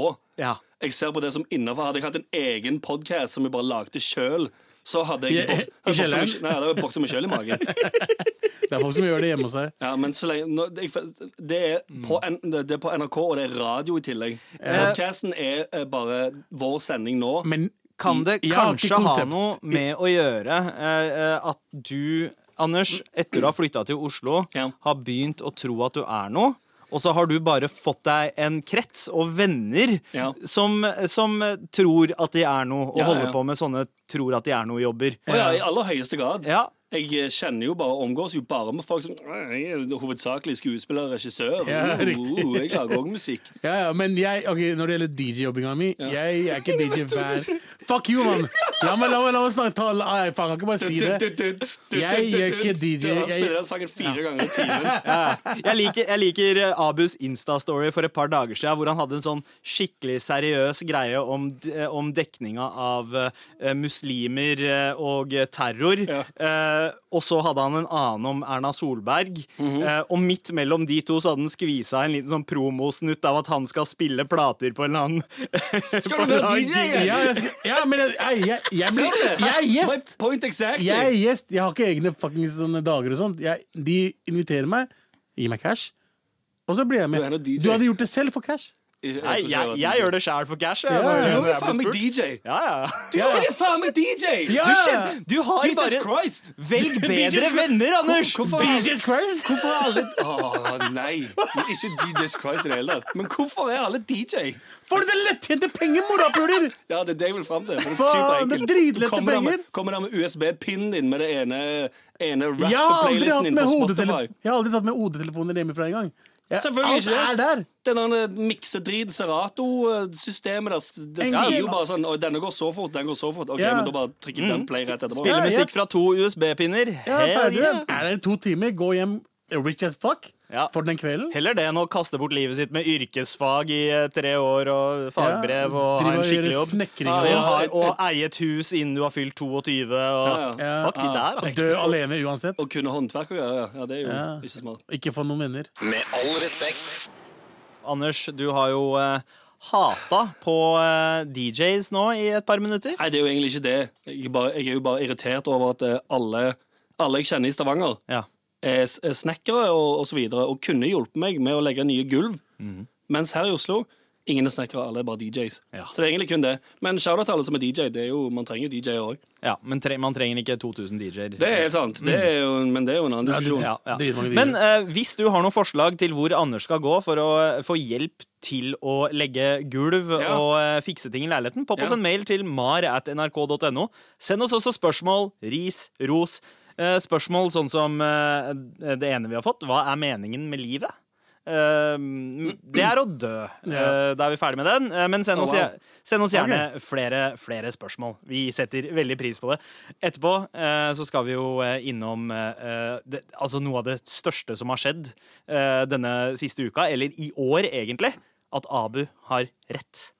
Speaker 5: Ja.
Speaker 7: Jeg ser på det som innafor. Hadde jeg hatt en egen podkast som jeg bare lagde sjøl, så hadde jeg
Speaker 6: Ja,
Speaker 7: bok- hadde
Speaker 6: i
Speaker 7: jeg boksa meg-
Speaker 6: kjelleren?
Speaker 7: Nei, jeg hadde boksa meg sjøl i magen.
Speaker 6: Det er folk som gjør det hjemme hos seg.
Speaker 7: Ja, men så lenge, nå, det, jeg- det, er på, N- det er på NRK, og det er radio i tillegg. Podkasten er eh, bare vår sending nå.
Speaker 6: Men
Speaker 5: Kan det
Speaker 6: jeg har ikke
Speaker 5: kanskje ha
Speaker 6: konsept.
Speaker 5: noe med å gjøre eh, eh, at du, Anders, etter å ha flytta til Oslo,
Speaker 7: Ja.
Speaker 5: har begynt å tro at du er noe? Og så har du bare fått deg en krets og venner
Speaker 7: Ja.
Speaker 5: som, som tror at de er noe, og
Speaker 7: Ja, ja,
Speaker 5: holder
Speaker 7: ja.
Speaker 5: på med sånne tror at de er noe-jobber.
Speaker 7: Å ja, I aller høyeste grad.
Speaker 5: Ja.
Speaker 7: Jeg eh, kjenner jo bare omgås jo bare med folk som «Nei, jeg er hovedsakelig skuespiller og regissør.
Speaker 6: Ja, riktig.
Speaker 7: Uh, jeg lager òg musikk.
Speaker 6: Ja, ja, men jeg, ok, Når det gjelder DJ-jobbinga mi Jeg er ikke DJ hver Fuck you, mann! La meg la meg, la meg snakke ta, la, Jeg faen, jeg kan ikke bare si det. Jeg gjør ikke DJ,
Speaker 7: Han spiller
Speaker 6: jeg-
Speaker 7: den sangen fire ganger i timen.
Speaker 5: Jeg liker, jeg liker eh, Abus Insta-story for et par dager siden, hvor han hadde en sånn skikkelig seriøs greie om, d- eh, om dekninga av eh, muslimer eh, og eh, terror. Eh, og så hadde han en annen om Erna Solberg. eh, og midt mellom de to så hadde han skvisa en liten sånn promosnutt av at han skal spille plater på en eller annen
Speaker 7: Skal du
Speaker 5: på en
Speaker 7: være
Speaker 5: annen
Speaker 7: DJ?
Speaker 5: gig.
Speaker 6: Ja, jeg, skal- ja men jeg, jeg, jeg, jeg,
Speaker 7: Ser
Speaker 6: blir-
Speaker 7: du det?
Speaker 6: jeg er gjest!
Speaker 7: Point exactly.
Speaker 6: Jeg er gjest, jeg har ikke egne fuckings sånne dager og sånt. Jeg, de inviterer meg, gir meg cash, og så blir jeg
Speaker 7: Du er
Speaker 6: med.
Speaker 7: noe DJ.
Speaker 6: Du hadde gjort det selv for cash.
Speaker 5: Nei, jeg, jeg gjør det sjæl for cash. Jeg,
Speaker 6: Ja,
Speaker 5: når-
Speaker 6: ja.
Speaker 7: Du
Speaker 5: når
Speaker 7: er jo
Speaker 5: jeg blir
Speaker 7: faen meg
Speaker 5: spurt.
Speaker 7: DJ.
Speaker 5: Ja, ja.
Speaker 7: Du er jo faen meg DJ!
Speaker 6: Ja!
Speaker 5: Du, kjenner, du har
Speaker 7: Jesus
Speaker 5: bare
Speaker 7: Christ!
Speaker 5: Velg bedre
Speaker 7: Jesus
Speaker 5: venner, Anders!
Speaker 7: Hvorfor-
Speaker 5: Jesus Christ!
Speaker 7: Hvorfor er alle Å, nei. Men Ikke Jesus Christ i det hele tatt. Men hvorfor er alle DJ?
Speaker 6: Får du det lettjente penger, morapuler?
Speaker 7: Ja, Det er det jeg vil fram til. for Det er
Speaker 6: Faen,
Speaker 7: superenkelt.
Speaker 6: det er dritlette
Speaker 7: Du kommer der med-
Speaker 6: penger.
Speaker 7: Kommer der med USB-pinnen din med det ene, ene
Speaker 6: Jeg har aldri
Speaker 7: rapper-playlisten
Speaker 6: hatt
Speaker 7: din
Speaker 6: med
Speaker 7: på
Speaker 6: hodetele-
Speaker 7: Spotify.
Speaker 6: jeg har aldri tatt med hodetelefoner hjemmefra engang. Jeg-
Speaker 7: Selvfølgelig
Speaker 6: Alt
Speaker 7: ikke det.
Speaker 6: er der.
Speaker 7: Den der miksedrit Serato-systemet der, det
Speaker 6: Ja,
Speaker 7: sier
Speaker 6: ja.
Speaker 7: jo bare sånn «Oi, Denne går så fort, den går så fort. Ok,
Speaker 6: Ja. Mm.
Speaker 7: men Da bare trykker den play rett etterpå.
Speaker 5: Spille
Speaker 6: Ja, ja.
Speaker 5: musikk fra to USB-pinner.
Speaker 6: Jeg er
Speaker 5: Hell
Speaker 6: ferdig.
Speaker 5: yeah.
Speaker 6: Er der i to timer, gå hjem rich as fuck
Speaker 5: Ja.
Speaker 6: for den kvelden.
Speaker 5: Heller det enn å kaste bort livet sitt med yrkesfag i eh, tre år og fagbrev og ha
Speaker 6: Drive
Speaker 5: en skikkelig
Speaker 6: gjøre
Speaker 5: jobb.
Speaker 6: snekring
Speaker 7: Ja,
Speaker 6: og
Speaker 5: Og,
Speaker 6: sånn.
Speaker 5: ha, og eie et hus innen du har fylt 22.
Speaker 7: Ja,
Speaker 5: Og,
Speaker 7: ja.
Speaker 6: Ja.
Speaker 5: fuck de der,
Speaker 6: Dø alene uansett.
Speaker 7: Å kunne håndverk og greier, ja. ja. Det er jo
Speaker 6: Ja.
Speaker 7: ikke smart.
Speaker 6: Ikke få noen venner.
Speaker 1: Med all respekt.
Speaker 5: altså. Anders, du har jo eh, hata på eh, DJs nå i et par minutter.
Speaker 7: Nei, det er jo egentlig ikke det. Jeg er, bare, jeg er jo bare irritert over at eh, alle, alle jeg kjenner i Stavanger,
Speaker 5: Ja.
Speaker 7: eh, s- eh, snekkere og, og så videre, og kunne hjulpet meg med å legge nye gulv.
Speaker 5: Mhm.
Speaker 7: Mens her i Oslo Ingen er snekkere, alle er bare DJs.
Speaker 5: Ja.
Speaker 7: Så det er egentlig kun det. Men shout-out til alle som er DJ. Det er jo, man trenger jo DJ-er òg.
Speaker 5: Ja, men tre, man trenger ikke 2000 DJ-er.
Speaker 7: Det er helt sant. Det er jo, men det er jo en annen
Speaker 6: Ja,
Speaker 7: diskusjon.
Speaker 5: ja, ja.
Speaker 6: Dritmange DJ-er.
Speaker 5: Men eh, hvis du har noen forslag til hvor Anders skal gå for å eh, få hjelp til å legge gulv
Speaker 7: Ja.
Speaker 5: og eh, fikse ting i leiligheten, popp oss
Speaker 7: Ja.
Speaker 5: en mail til mar at nrk.no. Send oss også spørsmål, ris, ros. Eh, spørsmål sånn som eh, det ene vi har fått. Hva er meningen med livet? Eh, det er å dø. Eh, da er vi ferdig med den. Eh, men send
Speaker 7: Oh,
Speaker 5: oss,
Speaker 7: wow.
Speaker 5: gjer- send oss gjerne flere, flere spørsmål. Vi setter veldig pris på det. Etterpå eh, så skal vi jo eh, innom eh, det, altså noe av det største som har skjedd eh, denne siste uka, eller i år egentlig, at Abu har rett.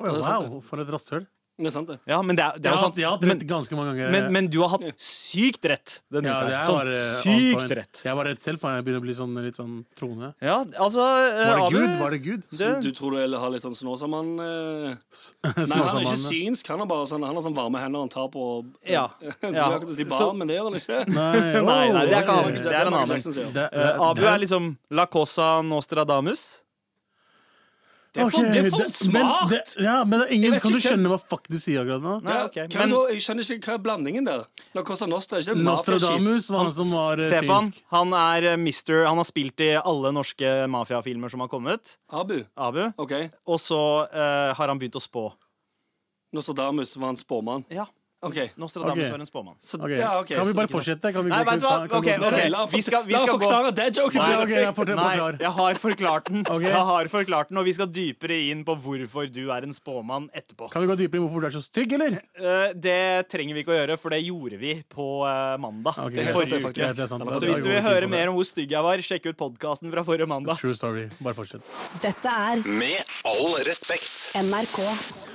Speaker 6: Oi,
Speaker 7: det er sant,
Speaker 6: wow, for et rasshøl.
Speaker 7: Det er sant, det.
Speaker 5: Ja, men det er, det er jo
Speaker 6: Jeg har
Speaker 5: sant.
Speaker 6: hatt- jeg har hatt rett ganske mange ganger.
Speaker 5: Men, men du har hatt sykt rett denne
Speaker 6: Ja,
Speaker 5: uka.
Speaker 6: jeg
Speaker 5: her.
Speaker 6: var,
Speaker 5: Sånn
Speaker 6: eh, on point.
Speaker 5: sykt rett.
Speaker 6: Jeg var rett selv, for jeg begynner å bli sånn, litt sånn troende.
Speaker 5: Ja, altså eh,
Speaker 6: Var det
Speaker 5: Abu
Speaker 6: Gud? Var det Gud?
Speaker 5: det-
Speaker 7: Du tror du har litt sånn Snåsamann eh, Nei, han er ikke
Speaker 6: Småsambandet.
Speaker 7: synsk. Han har bare sånn, han har sånn varme hender han tar på
Speaker 5: Ja.
Speaker 7: Som
Speaker 5: Ja.
Speaker 7: jeg kan si
Speaker 5: Så-
Speaker 7: barn, men det gjør han ikke.
Speaker 6: Nei, wow.
Speaker 5: Nei, nei, det er ikke han.
Speaker 7: Michael
Speaker 5: Det er en
Speaker 7: Michael
Speaker 5: annen.
Speaker 7: Jackson sier.
Speaker 6: Det- det-
Speaker 5: Eh, Abu
Speaker 6: det-
Speaker 5: er liksom La Cosa Nostradamus.
Speaker 7: Det er for, det er
Speaker 6: Ok,
Speaker 7: for
Speaker 6: det-
Speaker 7: smart!
Speaker 6: Men, det, ja, men det er ingen,
Speaker 7: Jeg vet
Speaker 6: kan du
Speaker 7: ikke
Speaker 6: skjønne hva fuck du sier akkurat nå?
Speaker 5: Nei,
Speaker 7: ja,
Speaker 5: ok,
Speaker 7: hva er
Speaker 5: men-
Speaker 7: nå- jeg skjønner ikke hva er blandingen der. La Cosa Nostra er ikke det mafiaskit.
Speaker 6: Nostradamus var han som var eh,
Speaker 5: Se på han.
Speaker 6: synsk.
Speaker 5: Han er eh, mister Han har spilt i alle norske mafiafilmer som har kommet.
Speaker 7: Abu.
Speaker 5: Abu.
Speaker 7: OK.
Speaker 5: Og så eh, har han begynt å spå.
Speaker 7: Nostradamus var en spåmann.
Speaker 5: Ja,
Speaker 7: OK.
Speaker 5: Nostradamus
Speaker 6: Ok.
Speaker 5: var en spåmann.
Speaker 7: Så,
Speaker 6: Ok,
Speaker 7: ja, ok,
Speaker 6: Kan vi
Speaker 7: så-
Speaker 6: bare fortsette? Kan vi
Speaker 5: Nei,
Speaker 6: bare-
Speaker 5: vet du hva?
Speaker 6: kan- kan
Speaker 5: Ok,
Speaker 6: du-
Speaker 5: ok.
Speaker 7: Nei, la,
Speaker 5: Vi skal- vi
Speaker 7: la
Speaker 5: skal
Speaker 7: meg
Speaker 5: gå-
Speaker 7: forklare det joken.
Speaker 6: Nei,
Speaker 7: til-
Speaker 6: ok, jeg fortell-
Speaker 5: Nei,
Speaker 6: forklar.
Speaker 5: jeg har forklart den,
Speaker 6: Ok.
Speaker 5: Jeg har forklart den og vi skal dypere inn på hvorfor du er en spåmann etterpå.
Speaker 6: Kan vi gå dypere i hvorfor du er så stygg, eller?
Speaker 5: Eh, det trenger vi ikke å gjøre, for det gjorde vi på eh, mandag.
Speaker 6: Ok,
Speaker 7: er
Speaker 5: forrige
Speaker 7: sant, det er
Speaker 5: uke.
Speaker 7: faktisk-
Speaker 6: Ja, det er sant.
Speaker 5: Så hvis du
Speaker 6: Da
Speaker 5: vil
Speaker 6: går vi
Speaker 5: høre
Speaker 6: inn på
Speaker 5: mer om hvor stygg jeg var, sjekk ut podkasten fra forrige
Speaker 6: det.
Speaker 5: mandag.
Speaker 6: True story. Bare fortsett.
Speaker 2: Dette er
Speaker 1: Med all respekt.
Speaker 2: NRK.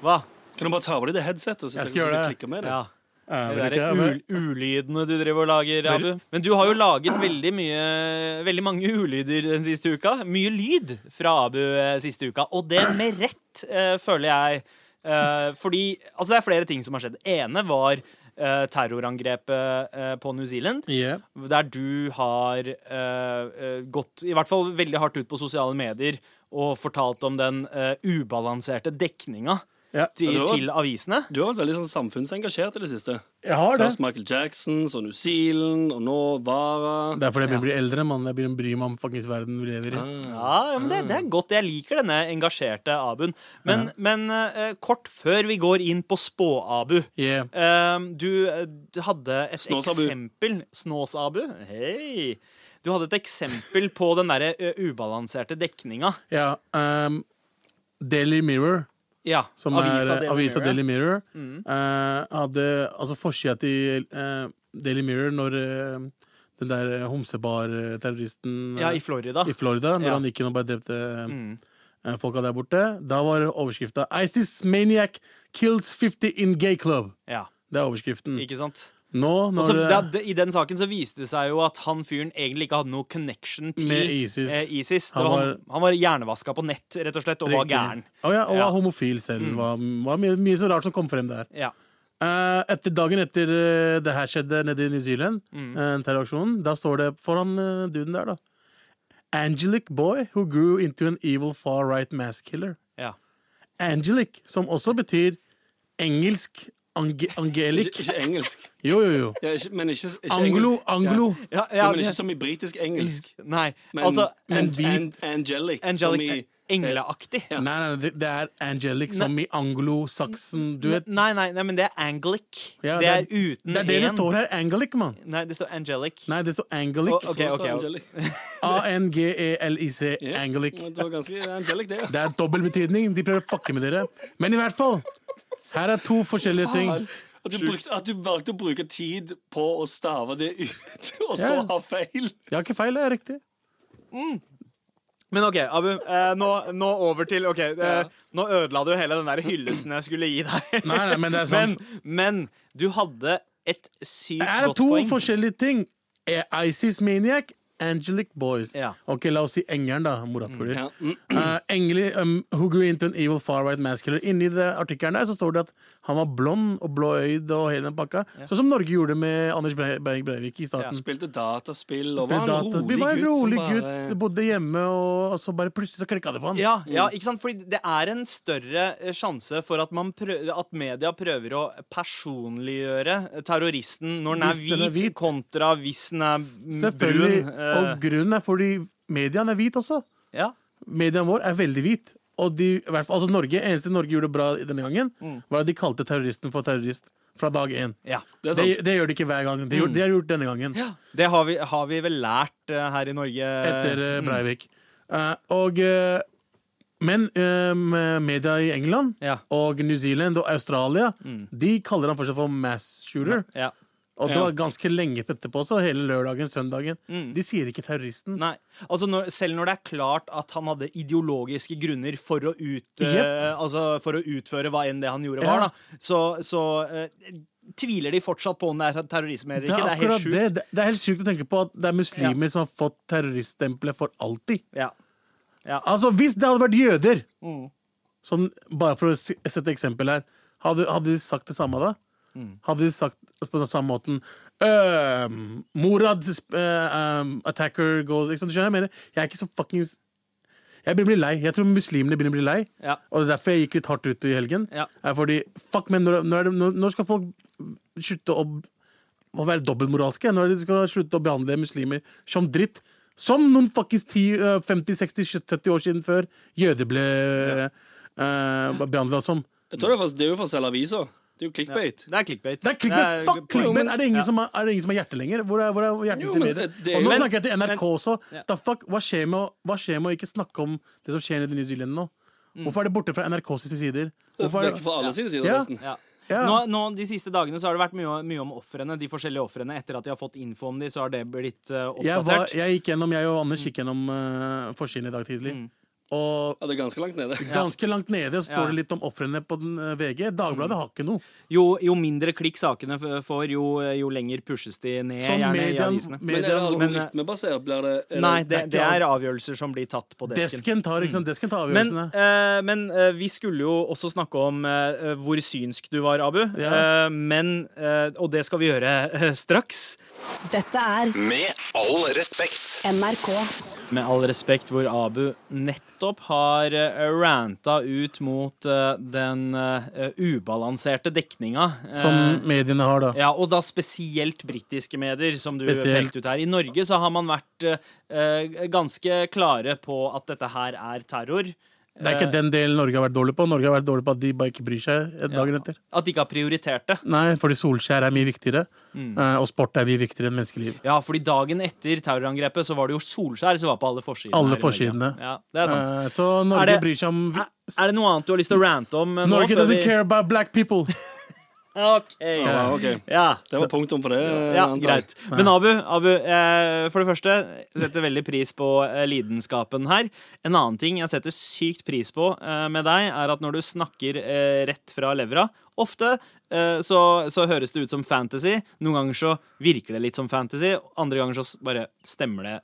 Speaker 5: Hva?
Speaker 7: Kan du bare ta av deg det headsetet? Så
Speaker 6: Jeg skal gjøre det.
Speaker 7: klikker Med det.
Speaker 5: Ja.
Speaker 6: Jeg
Speaker 5: Det
Speaker 6: vet Eh, ikke,
Speaker 5: der
Speaker 6: jeg
Speaker 5: ul
Speaker 6: vet-
Speaker 5: ulydene du driver og lager, Abu. Men du har jo laget veldig mye Veldig mange ulyder den siste uka. Mye lyd fra Abu eh, siste uka, og det med rett, eh, føler jeg. Eh, fordi Altså, det er flere ting som har skjedd. Ene var eh, terrorangrepet eh, på New Zealand.
Speaker 6: Yeah.
Speaker 5: Der du har eh, eh, gått i hvert fall veldig hardt ut på sosiale medier og fortalt om den eh, ubalanserte dekninga
Speaker 6: Ja.
Speaker 5: til,
Speaker 7: Ja, det var-
Speaker 5: til avisene.
Speaker 7: Du har vært veldig sånn samfunnsengasjert i det siste.
Speaker 6: Jeg har det.
Speaker 5: sånn
Speaker 7: Først Michael Jackson, så New Zealand, og nå Vara.
Speaker 6: Det er fordi jeg begynner å bli eldre, mann. Jeg begynner å bry meg om fuckings verden vi lever i.
Speaker 5: Ah. Ja, ja men det, det er godt. Jeg liker denne engasjerte Abuen. Men, men eh, kort før vi går inn på spå-Abu
Speaker 6: Yeah.
Speaker 5: eh, du, eh, du hadde et
Speaker 7: Snås-Abu.
Speaker 5: eksempel Snås-Abu. Hei! Du hadde et eksempel på den derre eh, ubalanserte dekninga.
Speaker 6: Ja, um, Daily Mirror,
Speaker 5: Ja,
Speaker 6: som er
Speaker 5: Daily
Speaker 6: avisa
Speaker 5: Mirror. Mm.
Speaker 6: Daily Mirror, eh, hadde altså forsida til eh, Daily Mirror når eh, den der eh, homsebar-terroristen eh,
Speaker 5: Ja, i Florida.
Speaker 6: i Florida, når
Speaker 5: Ah, Ja. Mm.
Speaker 6: han gikk inn og bare drepte eh, folka der borte, da var overskrifta 'ISIS maniac kills 50 in gay club'.
Speaker 5: Ja,
Speaker 6: Det er overskriften.
Speaker 5: ikke sant?
Speaker 6: Nå,
Speaker 5: Og
Speaker 6: når
Speaker 5: så
Speaker 6: eh,
Speaker 5: da, d- I den saken så viste det seg jo at han fyren egentlig ikke hadde noe connection til
Speaker 6: Med ISIS.
Speaker 5: eh, ISIS. Det
Speaker 6: Han
Speaker 5: var, han, han var hjernevaska på nett, rett og slett, og var gæren.
Speaker 6: Å ja,
Speaker 5: Ja.
Speaker 6: og
Speaker 5: Mm.
Speaker 6: var homofil selv. Var, var mye, mye så rart som kom frem der.
Speaker 5: Ja.
Speaker 6: Eh, etter dagen etter eh, det her skjedde nede i New Zealand,
Speaker 5: Mm.
Speaker 6: eh, terroraksjonen, da står det foran eh, duden der, da. Angelic boy who grew into an evil far right mass killer.
Speaker 5: ja.
Speaker 6: Angelic, som også betyr engelsk ange angelic.
Speaker 7: Ikke, ikke engelsk.
Speaker 6: Jo, jo, jo.
Speaker 7: Ja, ikke, men ikke, ikke
Speaker 6: Anglo,
Speaker 7: engelsk.
Speaker 6: anglo.
Speaker 5: Ja,
Speaker 7: Ja,
Speaker 5: ja,
Speaker 7: men ikke som i britisk engelsk.
Speaker 5: Nei,
Speaker 7: Men,
Speaker 5: altså
Speaker 7: men
Speaker 5: en-
Speaker 7: an,
Speaker 6: hvit.
Speaker 7: angelic, som i
Speaker 5: Angelic Engleaktig.
Speaker 6: Nei, nei, det, det er angelic som i anglo-saksen, du vet.
Speaker 5: Nei, nei, nei, men det er anglic.
Speaker 6: Ja,
Speaker 5: det, er uten
Speaker 6: Det er det det
Speaker 5: en.
Speaker 6: står her. Angelic, mann.
Speaker 5: Nei, det står angelic.
Speaker 6: Nei, det står
Speaker 5: Å,
Speaker 6: angelic.
Speaker 5: ok,
Speaker 7: Hva står
Speaker 5: ok, ok.
Speaker 7: angelic?
Speaker 6: E A-n-g-e-l-i-c.
Speaker 7: Ja,
Speaker 6: Angelic.
Speaker 7: Det var ganske angelic, det. ja.
Speaker 6: Det er dobbel betydning. De prøver å fucke med dere. Men i hvert fall, her er to forskjellige ting.
Speaker 7: Faen. At du, brukte, at du valgte å bruke tid på å stave det ut, og så
Speaker 6: Ja.
Speaker 7: ha feil.
Speaker 6: Jeg har ikke feil, jeg er riktig.
Speaker 5: Men OK, Abu. Eh, nå, nå over til OK. Eh, Nå ødela du hele den der hyllesten jeg skulle gi deg.
Speaker 6: Nei, nei, men det er sant.
Speaker 5: Men, men du hadde et sykt
Speaker 6: Her er
Speaker 5: godt
Speaker 6: to
Speaker 5: poeng.
Speaker 6: forskjellige ting. Er ISIS maniac Angelic Boys.
Speaker 5: Ja.
Speaker 6: Ok, la oss si engelen, da. Moratpuler.
Speaker 7: Ja. Mm.
Speaker 6: Eh, engelig, um, who grew into an evil far right masculine. Inni det artikkelen der så står det at han var blond og blåøyd og hele den pakka. Sånn som Norge gjorde med Anders Bre- Breivik Breivik i starten.
Speaker 7: Spilte dataspill og
Speaker 6: Ble
Speaker 7: var en
Speaker 6: data-
Speaker 7: rolig
Speaker 6: Vi var en
Speaker 7: gutt. som
Speaker 6: rolig
Speaker 7: bare-
Speaker 6: gutt, bodde hjemme, og, og så bare plutselig så klikka det for han.
Speaker 5: Ja, ja, ikke sant? Fordi det er en større eh, sjanse for at, man prø- at media prøver å personliggjøre eh, terroristen når den er
Speaker 6: Hvis
Speaker 5: hvit,
Speaker 6: den er hvit.
Speaker 5: kontra hvis den er
Speaker 6: Selvfølgelig.
Speaker 5: brun.
Speaker 6: Og
Speaker 5: eh,
Speaker 6: grunnen er fordi mediaen er hvit også.
Speaker 5: ja.
Speaker 6: Mediaen vår er veldig hvit. Og de, i hvert fall, altså Norge, eneste Norge gjorde bra denne gangen,
Speaker 7: Mm.
Speaker 6: var at de kalte terroristen for terrorist fra dag én.
Speaker 5: ja.
Speaker 7: Det er
Speaker 6: Det,
Speaker 7: sant.
Speaker 6: det gjør de ikke hver gang. Det gjør, de har gjort denne gangen.
Speaker 5: Det har vi, har vi vel lært eh, her i Norge.
Speaker 6: Etter
Speaker 7: Mm.
Speaker 6: eh, Breivik. Eh, og eh, Men eh, med media i England
Speaker 5: Ja.
Speaker 6: og New Zealand og Australia De kaller han fortsatt for mass shooter.
Speaker 5: Ja.
Speaker 6: Og
Speaker 7: Mm.
Speaker 6: det
Speaker 7: Ja. Mm.
Speaker 6: var ganske lenge etterpå, så hele lørdagen, søndagen. De sier ikke terroristen.
Speaker 5: Nei, altså når, Selv når det er klart at han hadde ideologiske grunner for å, ut, eh,
Speaker 6: Jepp.
Speaker 5: altså for å utføre hva enn det han gjorde,
Speaker 6: Ja.
Speaker 5: var, da, så, så eh, tviler de fortsatt på om det er terrorisme eller
Speaker 6: Det er
Speaker 5: ikke. Det er
Speaker 6: akkurat
Speaker 5: helt
Speaker 6: det.
Speaker 5: sjukt.
Speaker 6: Det- Det er helt sjukt å tenke på at det er muslimer som har fått terroriststempelet for alltid.
Speaker 5: Ja.
Speaker 6: Altså, hvis det hadde vært jøder,
Speaker 5: Mm.
Speaker 6: sånn, bare for å s- sette eksempel her, hadde, hadde de sagt det samme da?
Speaker 5: Mm.
Speaker 6: Hadde de sagt på den samme måten «Øhm, Morad sp- øh, øhm, attacker goes ikke sant? Du skjønner, hva jeg mener, jeg er ikke så fuckings Jeg begynner å bli lei. Jeg tror muslimene begynner å bli lei.
Speaker 5: Ja.
Speaker 6: Og det er derfor jeg gikk litt hardt ut i helgen.
Speaker 5: Ja.
Speaker 6: Er fordi, fuck, men når, når, er det- når, når skal folk slutte å, å være dobbeltmoralske? Når de skal slutte å behandle muslimer som dritt? Som noen fuckings 10, eh, 50, 60, 70 år siden før jøder ble uh, behandla som.
Speaker 7: Jeg tror det er for- det er jo for å selge aviser. Det er jo clickbait.
Speaker 5: Det er clickbait.
Speaker 6: Det er clickbait! Fuck
Speaker 5: poeng.
Speaker 6: clickbait! Er det ingen,
Speaker 5: Ja.
Speaker 6: som, er, er det ingen som har hjerte lenger? Hvor er, hvor er hjertet
Speaker 7: Jo,
Speaker 6: til
Speaker 7: men
Speaker 6: medier?
Speaker 7: det- det-
Speaker 6: Og nå
Speaker 7: men-
Speaker 6: snakker jeg til NRK også.
Speaker 5: Ja.
Speaker 6: Da fuck, hva skjer, med, å- hva skjer med å ikke snakke om det som skjer nede i New Zealand nå? Hvorfor er det borte fra NRKs sider? Hvorfor er
Speaker 7: Mm. Det er
Speaker 6: det,
Speaker 7: Fra alle sine sider,
Speaker 6: Ja.
Speaker 7: nesten.
Speaker 5: Ja.
Speaker 6: Ja.
Speaker 5: Nå, nå, de siste dagene så har det vært mye, mye om ofrene, de forskjellige ofrene. Etter at de har fått info om de, så har det blitt eh,
Speaker 6: jeg, var,
Speaker 5: oppdatert.
Speaker 6: jeg gikk gjennom, jeg og Anders gikk gjennom uh, forsiden i dag tidlig. Og
Speaker 7: Ja, det er ganske langt nede.
Speaker 6: ganske langt
Speaker 5: Mm.
Speaker 6: nede så
Speaker 5: Ja. Mm.
Speaker 6: står det litt om ofrene på den, eh, VG. Dagbladet har ikke noe.
Speaker 5: Jo, jo mindre klikk sakene f- får, jo, eh, jo lenger pushes de ned
Speaker 6: Så
Speaker 5: gjerne i
Speaker 6: median-
Speaker 5: avisene.
Speaker 6: med-
Speaker 7: Men er det
Speaker 5: men-
Speaker 7: algoritmebasert? Blir det, er
Speaker 5: Nei,
Speaker 7: det,
Speaker 5: det,
Speaker 6: det er
Speaker 5: det
Speaker 6: ikke
Speaker 5: er avgjørelser som blir tatt på desken. Mm.
Speaker 6: Desken tar, ikke sant? Desken tar
Speaker 5: Men,
Speaker 6: avgjørelsene.
Speaker 5: eh, men eh, vi skulle jo også snakke om eh, hvor synsk du var, Abu.
Speaker 6: Ja.
Speaker 5: Eh, men, eh, og det skal vi gjøre eh, straks.
Speaker 2: Dette er
Speaker 1: Med all respekt.
Speaker 2: NRK.
Speaker 5: Med all respekt, hvor Abu nettopp har eh, ranta ut mot eh, den eh, ubalanserte dekninga. eh,
Speaker 6: som mediene har, da.
Speaker 5: ja, og da spesielt britiske medier, som du
Speaker 6: Spesielt.
Speaker 5: pelte ut her. I Norge så har man vært eh, eh, ganske klare på at dette her er terror.
Speaker 6: Det
Speaker 5: eh,
Speaker 6: er ikke den delen Norge har vært dårlig på. Norge har vært dårlig på at de bare ikke bryr seg eh, dagen etter.
Speaker 5: At de ikke har prioritert det.
Speaker 6: Nei, fordi Solskjær er mye viktigere,
Speaker 5: Mm.
Speaker 6: eh, og sport er mye viktigere enn menneskeliv.
Speaker 5: Ja, fordi dagen etter terrorangrepet så var det jo Solskjær som var på alle forsidene.
Speaker 6: Alle
Speaker 5: her i Norge.
Speaker 6: forsidene.
Speaker 5: Ja, det er sant.
Speaker 6: Eh, så
Speaker 5: Er
Speaker 6: Norge
Speaker 5: det-
Speaker 6: bryr seg om
Speaker 5: Er, er det noe annet du har lyst til å rante om eh, nå?
Speaker 6: Norge
Speaker 5: før
Speaker 6: doesn't
Speaker 5: vi-
Speaker 6: care about black people!
Speaker 5: Ok.
Speaker 7: Ja, ok.
Speaker 5: Ja.
Speaker 7: det var punktum for det. eh,
Speaker 5: Ja,
Speaker 7: antar jeg.
Speaker 5: greit. Men Abu, Abu eh, for det første jeg setter veldig pris på eh, lidenskapen her. En annen ting jeg setter sykt pris på eh, med deg, er at når du snakker eh, rett fra levra, ofte eh, så, så høres det ut som fantasy. Noen ganger så virker det litt som fantasy, andre ganger så s- bare stemmer det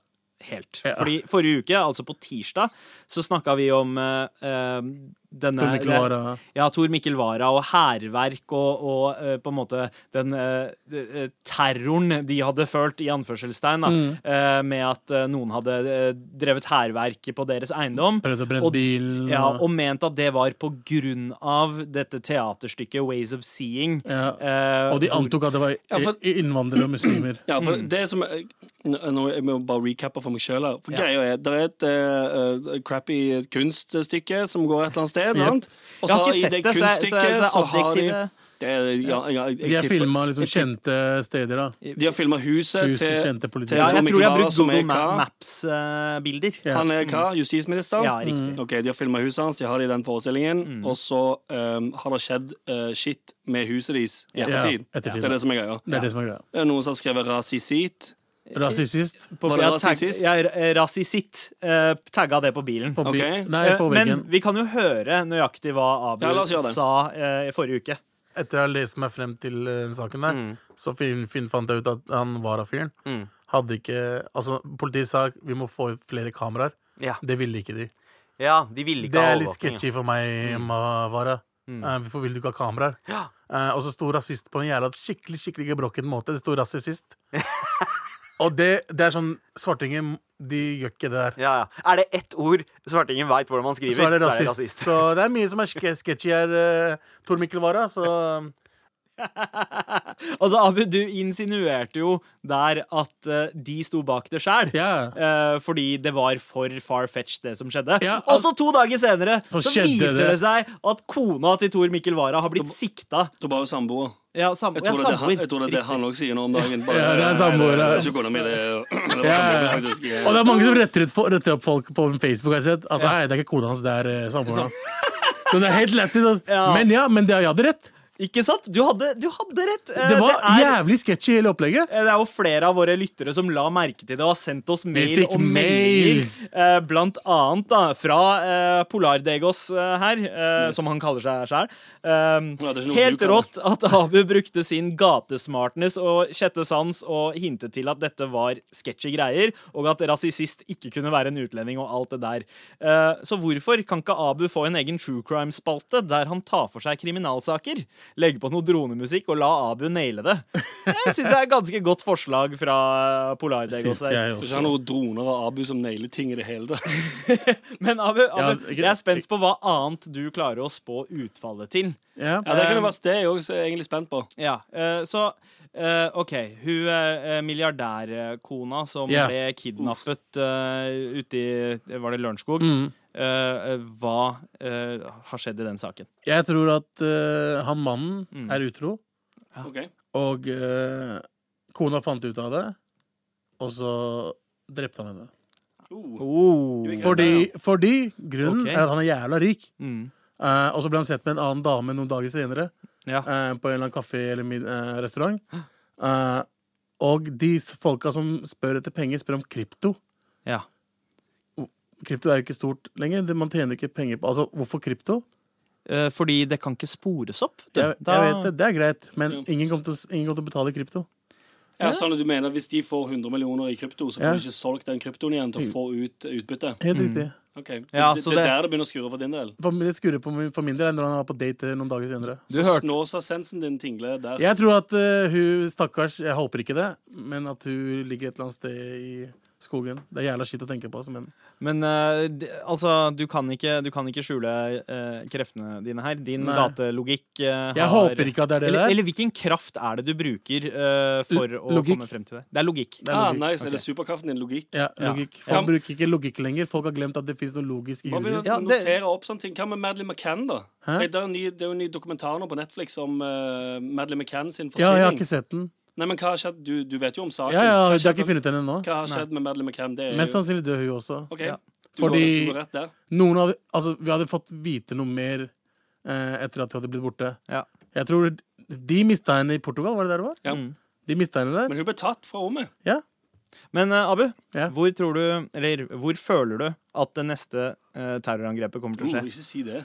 Speaker 5: helt. Fordi forrige uke, altså på tirsdag, så snakka vi om eh, eh, denne
Speaker 6: Tor Mikkel Wara.
Speaker 5: ja, Tor Mikkel Wara og hærverk og, og eh, på en måte den eh, eh, terroren de hadde følt, i anførselstegn, da, eh, med at eh, noen hadde eh, drevet hærverk på deres eiendom.
Speaker 6: Prøvde å brenne
Speaker 5: Og-
Speaker 6: bilen,
Speaker 5: Ja,
Speaker 6: og-
Speaker 5: og ment at det var på grunn av dette teaterstykket Ways of Seeing.
Speaker 6: Ja.
Speaker 5: eh,
Speaker 6: Og de
Speaker 5: hvor-
Speaker 6: antok at det var
Speaker 7: Ja, for-
Speaker 6: i- innvandrere og muslimer.
Speaker 7: Ja, for
Speaker 5: Mm.
Speaker 7: det som er- Nå nå- Jeg må bare recappe for meg sjøl her. For Greia er det er et eh, eh, crappy kunststykke som går et eller annet sted. sant?
Speaker 5: Jeg har
Speaker 7: Og så
Speaker 5: ikke
Speaker 7: i
Speaker 5: sett
Speaker 7: det
Speaker 5: det, så jeg- så jeg-
Speaker 7: kunststykket
Speaker 5: så
Speaker 7: så har de
Speaker 5: adjektivet-
Speaker 7: det er, ja, ja, jeg,
Speaker 6: De har
Speaker 7: tipper-
Speaker 6: filma liksom kjente steder, da.
Speaker 7: De har filma huset,
Speaker 6: Huset
Speaker 7: til,
Speaker 6: kjente politiet.
Speaker 7: til
Speaker 5: ja,
Speaker 7: Tor
Speaker 5: jeg tror de har
Speaker 7: Mikkel Wara,
Speaker 5: brukt
Speaker 7: som er
Speaker 5: Google eh,
Speaker 7: hva?
Speaker 5: Maps-bilder.
Speaker 6: Ja.
Speaker 7: Han er hva? Justisminister? Mm.
Speaker 5: Ja, riktig. Mm.
Speaker 7: Ok, De har filma huset hans, de har det i den forestillingen. Og så um, har det skjedd uh, shit med huset deres i ettertid.
Speaker 6: Ja, ettertid.
Speaker 7: Det er det som er greia.
Speaker 6: Det er det som er greia.
Speaker 7: Det er noen som har skrevet rasisit.
Speaker 6: Rasist
Speaker 5: På,
Speaker 7: Var det
Speaker 5: jeg har tag-
Speaker 7: rasistisk?
Speaker 5: Jeg eh, rasist, eh, tagga det på bilen.
Speaker 6: på, bi-
Speaker 7: Ok.
Speaker 6: Nei, på
Speaker 5: Eh,
Speaker 6: veggen.
Speaker 5: Men vi kan jo høre nøyaktig hva Abu
Speaker 7: Ja, la oss gjøre det.
Speaker 5: sa eh, i forrige uke.
Speaker 6: Mm. Etter jeg har lest meg frem til eh, saken der, så fin, fin fant jeg ut at han var av fyren. hadde ikke Altså, politiet sa vi må få flere kameraer.
Speaker 2: Ja.
Speaker 6: Det ville ikke de.
Speaker 2: ja, de ville ikke
Speaker 6: Det
Speaker 2: ha
Speaker 6: er litt
Speaker 2: overvåkning, ja.
Speaker 6: sketchy for meg, Mavara. Eh, Hvorfor vil du ikke ha kameraer?
Speaker 2: Ja.
Speaker 6: Eh, og så sto rasist på en jævla skikkelig skikkelig gebrokken måte. Det sto rasist. og det, det er sånn Svartingen, de gjør ikke det der.
Speaker 2: Ja, ja. Er det ett ord svartingen veit hvordan man skriver,
Speaker 6: Så er det rasist. Så det er, mye som er ske- sketchy her, uh, Tor Mikkel Wara. Så
Speaker 5: Altså, Abu, du insinuerte jo der at eh, de sto bak det sjæl.
Speaker 6: Ja.
Speaker 5: Eh, fordi det var for far-fetched, det som skjedde.
Speaker 6: Ja,
Speaker 5: og så to dager senere så,
Speaker 6: Så skjedde
Speaker 5: viser det.
Speaker 6: det.
Speaker 5: seg at kona til Tor Mikkel Wara har blitt sikta.
Speaker 7: Du bare samboer.
Speaker 5: Ja, sam
Speaker 7: Jeg
Speaker 5: ja,
Speaker 7: tror, det, er det, han-
Speaker 5: samboer.
Speaker 7: jeg tror det er det han òg sier nå om dagen. Bare,
Speaker 6: Ja, det er
Speaker 7: Nei,
Speaker 6: samboer, ja.
Speaker 7: det er ikke kona mi, det er- det var
Speaker 6: Ja,
Speaker 7: samboer,
Speaker 6: ja.
Speaker 7: faktisk. eh,
Speaker 6: Og det er mange som retter, ut, fo- retter opp folk på Facebook. har jeg sett At nei, det er ikke kona hans, det er eh, samboeren hans. Den er helt lættis. altså.
Speaker 5: Ja.
Speaker 6: Men ja, men det, jeg hadde rett.
Speaker 5: Ikke sant? Du hadde, du hadde rett. Eh,
Speaker 6: Det var
Speaker 5: det, er,
Speaker 6: jævlig sketchy, hele opplegget.
Speaker 5: Eh, det er jo flere av våre lyttere som la merke til det og har sendt oss mail
Speaker 6: fikk
Speaker 5: og meldinger.
Speaker 6: mails.
Speaker 5: Eh, blant annet da, fra eh, Polardegos eh, her, eh, som han kaller seg sjæl.
Speaker 7: Ja, det er ikke noe
Speaker 5: helt
Speaker 7: du kaller.
Speaker 5: rått at Abu brukte sin gatesmartness og sjette sans og hintet til at dette var sketchy greier, og at rasist ikke kunne være en utlending og alt det der. Eh, så hvorfor kan ikke Abu få en egen true crime-spalte der han tar for seg kriminalsaker? Legge på noe dronemusikk og la Abu naile det. Det syns jeg er et ganske godt forslag fra Polardegos.
Speaker 6: Syns
Speaker 5: her.
Speaker 6: jeg
Speaker 7: Så
Speaker 6: også.
Speaker 7: ikke han noen droner og Abu som nailer ting i det hele tatt.
Speaker 5: Men Abu, Abu
Speaker 6: Ja, ikke-
Speaker 5: jeg er spent på hva annet du klarer å spå utfallet til.
Speaker 6: Ja.
Speaker 7: Ja, det, kunne vært, det er jeg også egentlig spent på.
Speaker 5: Ja, eh, Så eh, OK. Hun eh, milliardærkona som
Speaker 6: Ja.
Speaker 5: ble kidnappet eh, ute i Var det Lørenskog?
Speaker 6: Mm.
Speaker 5: Eh, eh, hva eh, har skjedd i den saken?
Speaker 6: Jeg tror at eh, han mannen er utro,
Speaker 7: Ok.
Speaker 6: og eh, kona fant ut av det, og så drepte han henne.
Speaker 7: Oh.
Speaker 5: Oh.
Speaker 7: Du-
Speaker 6: Fordi, fordi grunnen
Speaker 5: Ok.
Speaker 6: er at han er jævla rik.
Speaker 5: Mm.
Speaker 6: Eh, og så ble han sett med en annen dame noen dager senere
Speaker 5: Ja.
Speaker 6: eh, på en eller annen kafé eller mid eh, restaurant. Eh, og de s- folka som spør etter penger, spør om krypto.
Speaker 5: ja.
Speaker 6: Krypto er jo ikke stort lenger. Det- Man tjener ikke penger på Altså, hvorfor krypto?
Speaker 5: Eh, fordi det kan ikke spores opp. du.
Speaker 6: Jeg,
Speaker 5: Da-
Speaker 6: jeg vet det, det er greit, men
Speaker 7: Ja.
Speaker 6: ingen kommer til, å s- ingen kommer til å betale i krypto.
Speaker 7: Ja, sånn at du mener Hvis de får 100 millioner i krypto, så får
Speaker 6: Ja.
Speaker 7: de ikke solgt den kryptoen igjen til å få ut utbytte?
Speaker 6: Helt
Speaker 5: Mm.
Speaker 6: riktig.
Speaker 7: Ok, Det,
Speaker 5: Ja,
Speaker 7: det,
Speaker 5: så
Speaker 7: det er
Speaker 5: det-
Speaker 7: der det begynner å skure for din del.
Speaker 6: For min- Det skurrer på min, for min del er når han var på date eh, noen dager senere.
Speaker 5: Du hørte
Speaker 7: Snåsa-sensen din tingler der.
Speaker 6: Jeg tror at eh, hun stakkars Jeg håper ikke det, men at hun ligger et eller annet sted i skogen. Det er jævla skitt å tenke på, altså, men
Speaker 5: Men eh, d- altså, du kan ikke, du kan ikke skjule eh, kreftene dine her. Din
Speaker 6: Nei.
Speaker 5: gatelogikk eh,
Speaker 6: Jeg
Speaker 5: har
Speaker 6: håper ikke at det er det
Speaker 5: eller,
Speaker 6: der.
Speaker 5: Eller hvilken kraft er det du bruker eh, for
Speaker 6: L-
Speaker 5: å
Speaker 6: logikk.
Speaker 5: komme frem til det? Det er logikk.
Speaker 6: det er
Speaker 7: ah,
Speaker 6: logikk.
Speaker 7: nice, Er
Speaker 5: Ok.
Speaker 7: det superkraften din? Logikk?
Speaker 6: Ja,
Speaker 5: Ja.
Speaker 6: logikk. Folk
Speaker 7: Ja.
Speaker 6: bruker ikke logikk lenger. Folk har glemt at det fins noe logisk i
Speaker 7: Bare begynn å
Speaker 6: huet.
Speaker 5: Ja, det-
Speaker 7: notere opp sånne ting. Hva med Madeleine McCann, da?
Speaker 6: Hæ?
Speaker 7: Nei, Det er, en ny, det er jo en ny dokumentar nå på Netflix om eh, Madeleine McCann sin
Speaker 6: Ja, jeg har
Speaker 7: forsvinning.
Speaker 6: ikke sett den.
Speaker 7: Nei, men hva har skjedd? Du, du vet jo om saken.
Speaker 6: Ja, ja,
Speaker 7: Hva har
Speaker 6: jeg har
Speaker 7: skjedd
Speaker 6: ikke
Speaker 7: med-
Speaker 6: funnet henne ennå.
Speaker 7: Hva har
Speaker 6: Nei.
Speaker 7: skjedd med Madeleine McCann? Det er
Speaker 6: Mest
Speaker 7: jo
Speaker 6: sannsynlig dør hun også.
Speaker 7: OK,
Speaker 5: Ja.
Speaker 7: du, går,
Speaker 6: Fordi-
Speaker 7: du går rett der.
Speaker 6: Noen hadde, altså, vi hadde fått vite noe mer eh, etter at hun hadde blitt borte.
Speaker 5: Ja.
Speaker 6: Jeg tror De mista henne i Portugal, var det der det var?
Speaker 7: Ja.
Speaker 6: De mista henne der.
Speaker 7: Men hun ble tatt fra rommet.
Speaker 6: Ja.
Speaker 5: Men eh, Abu,
Speaker 6: Ja.
Speaker 5: hvor tror du, eller hvor føler du at det neste eh, terrorangrepet kommer
Speaker 7: Oh,
Speaker 5: til å skje?
Speaker 7: ikke si det.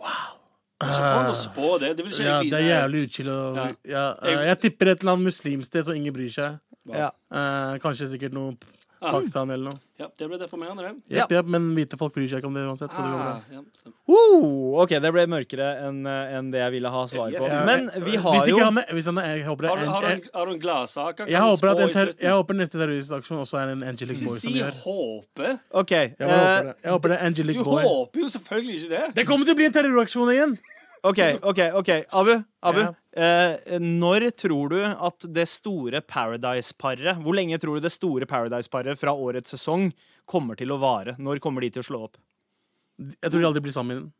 Speaker 7: Wow. Ikke få han å spå det. Det vil ikke
Speaker 6: Ja,
Speaker 7: jeg
Speaker 6: det er
Speaker 7: vite.
Speaker 6: jævlig utskill. og-
Speaker 7: Ja.
Speaker 6: Ja, eh, jeg tipper et eller annet muslimsted så ingen bryr seg.
Speaker 5: Ja.
Speaker 6: Eh, kanskje sikkert noe p-
Speaker 7: Ah.
Speaker 6: Pakistan eller noe.
Speaker 7: Ja, det ble deformerende, det.
Speaker 5: Ja.
Speaker 6: Jepp, jepp, men hvite folk bryr seg ikke om det uansett. Så det går bra.
Speaker 7: Ah, ja, stemmer.
Speaker 5: Oh, ok, det ble mørkere enn eh, enn det jeg ville ha svar på.
Speaker 6: Ja,
Speaker 5: Men vi
Speaker 6: hvis
Speaker 5: har
Speaker 6: ikke
Speaker 5: jo
Speaker 6: han er, hvis han er, jeg håper det
Speaker 7: har,
Speaker 6: er
Speaker 7: du,
Speaker 6: en,
Speaker 7: har, du
Speaker 6: jeg,
Speaker 7: en, har du en gladsak? han
Speaker 6: jeg,
Speaker 7: kan
Speaker 6: håper at
Speaker 7: spå
Speaker 6: en
Speaker 7: i
Speaker 6: terror,
Speaker 7: slutten?
Speaker 6: jeg håper neste terroristaksjon også er en Angelic
Speaker 7: Ikke
Speaker 6: Boy som
Speaker 7: si
Speaker 6: gjør.
Speaker 7: håpe.
Speaker 5: OK.
Speaker 6: Jeg
Speaker 5: eh,
Speaker 6: bare håper det. Jeg håper det er Angelic
Speaker 7: Du
Speaker 6: Boy.
Speaker 7: håper jo selvfølgelig ikke det.
Speaker 6: Det kommer til å bli en terroraksjon igjen!
Speaker 5: OK, ok, ok. Abu, Abu
Speaker 6: Ja.
Speaker 5: eh, når tror du at det store Paradise-paret Hvor lenge tror du det store Paradise-paret fra årets sesong kommer til å vare? Når kommer de til å slå opp?
Speaker 6: Jeg tror de aldri blir sammen.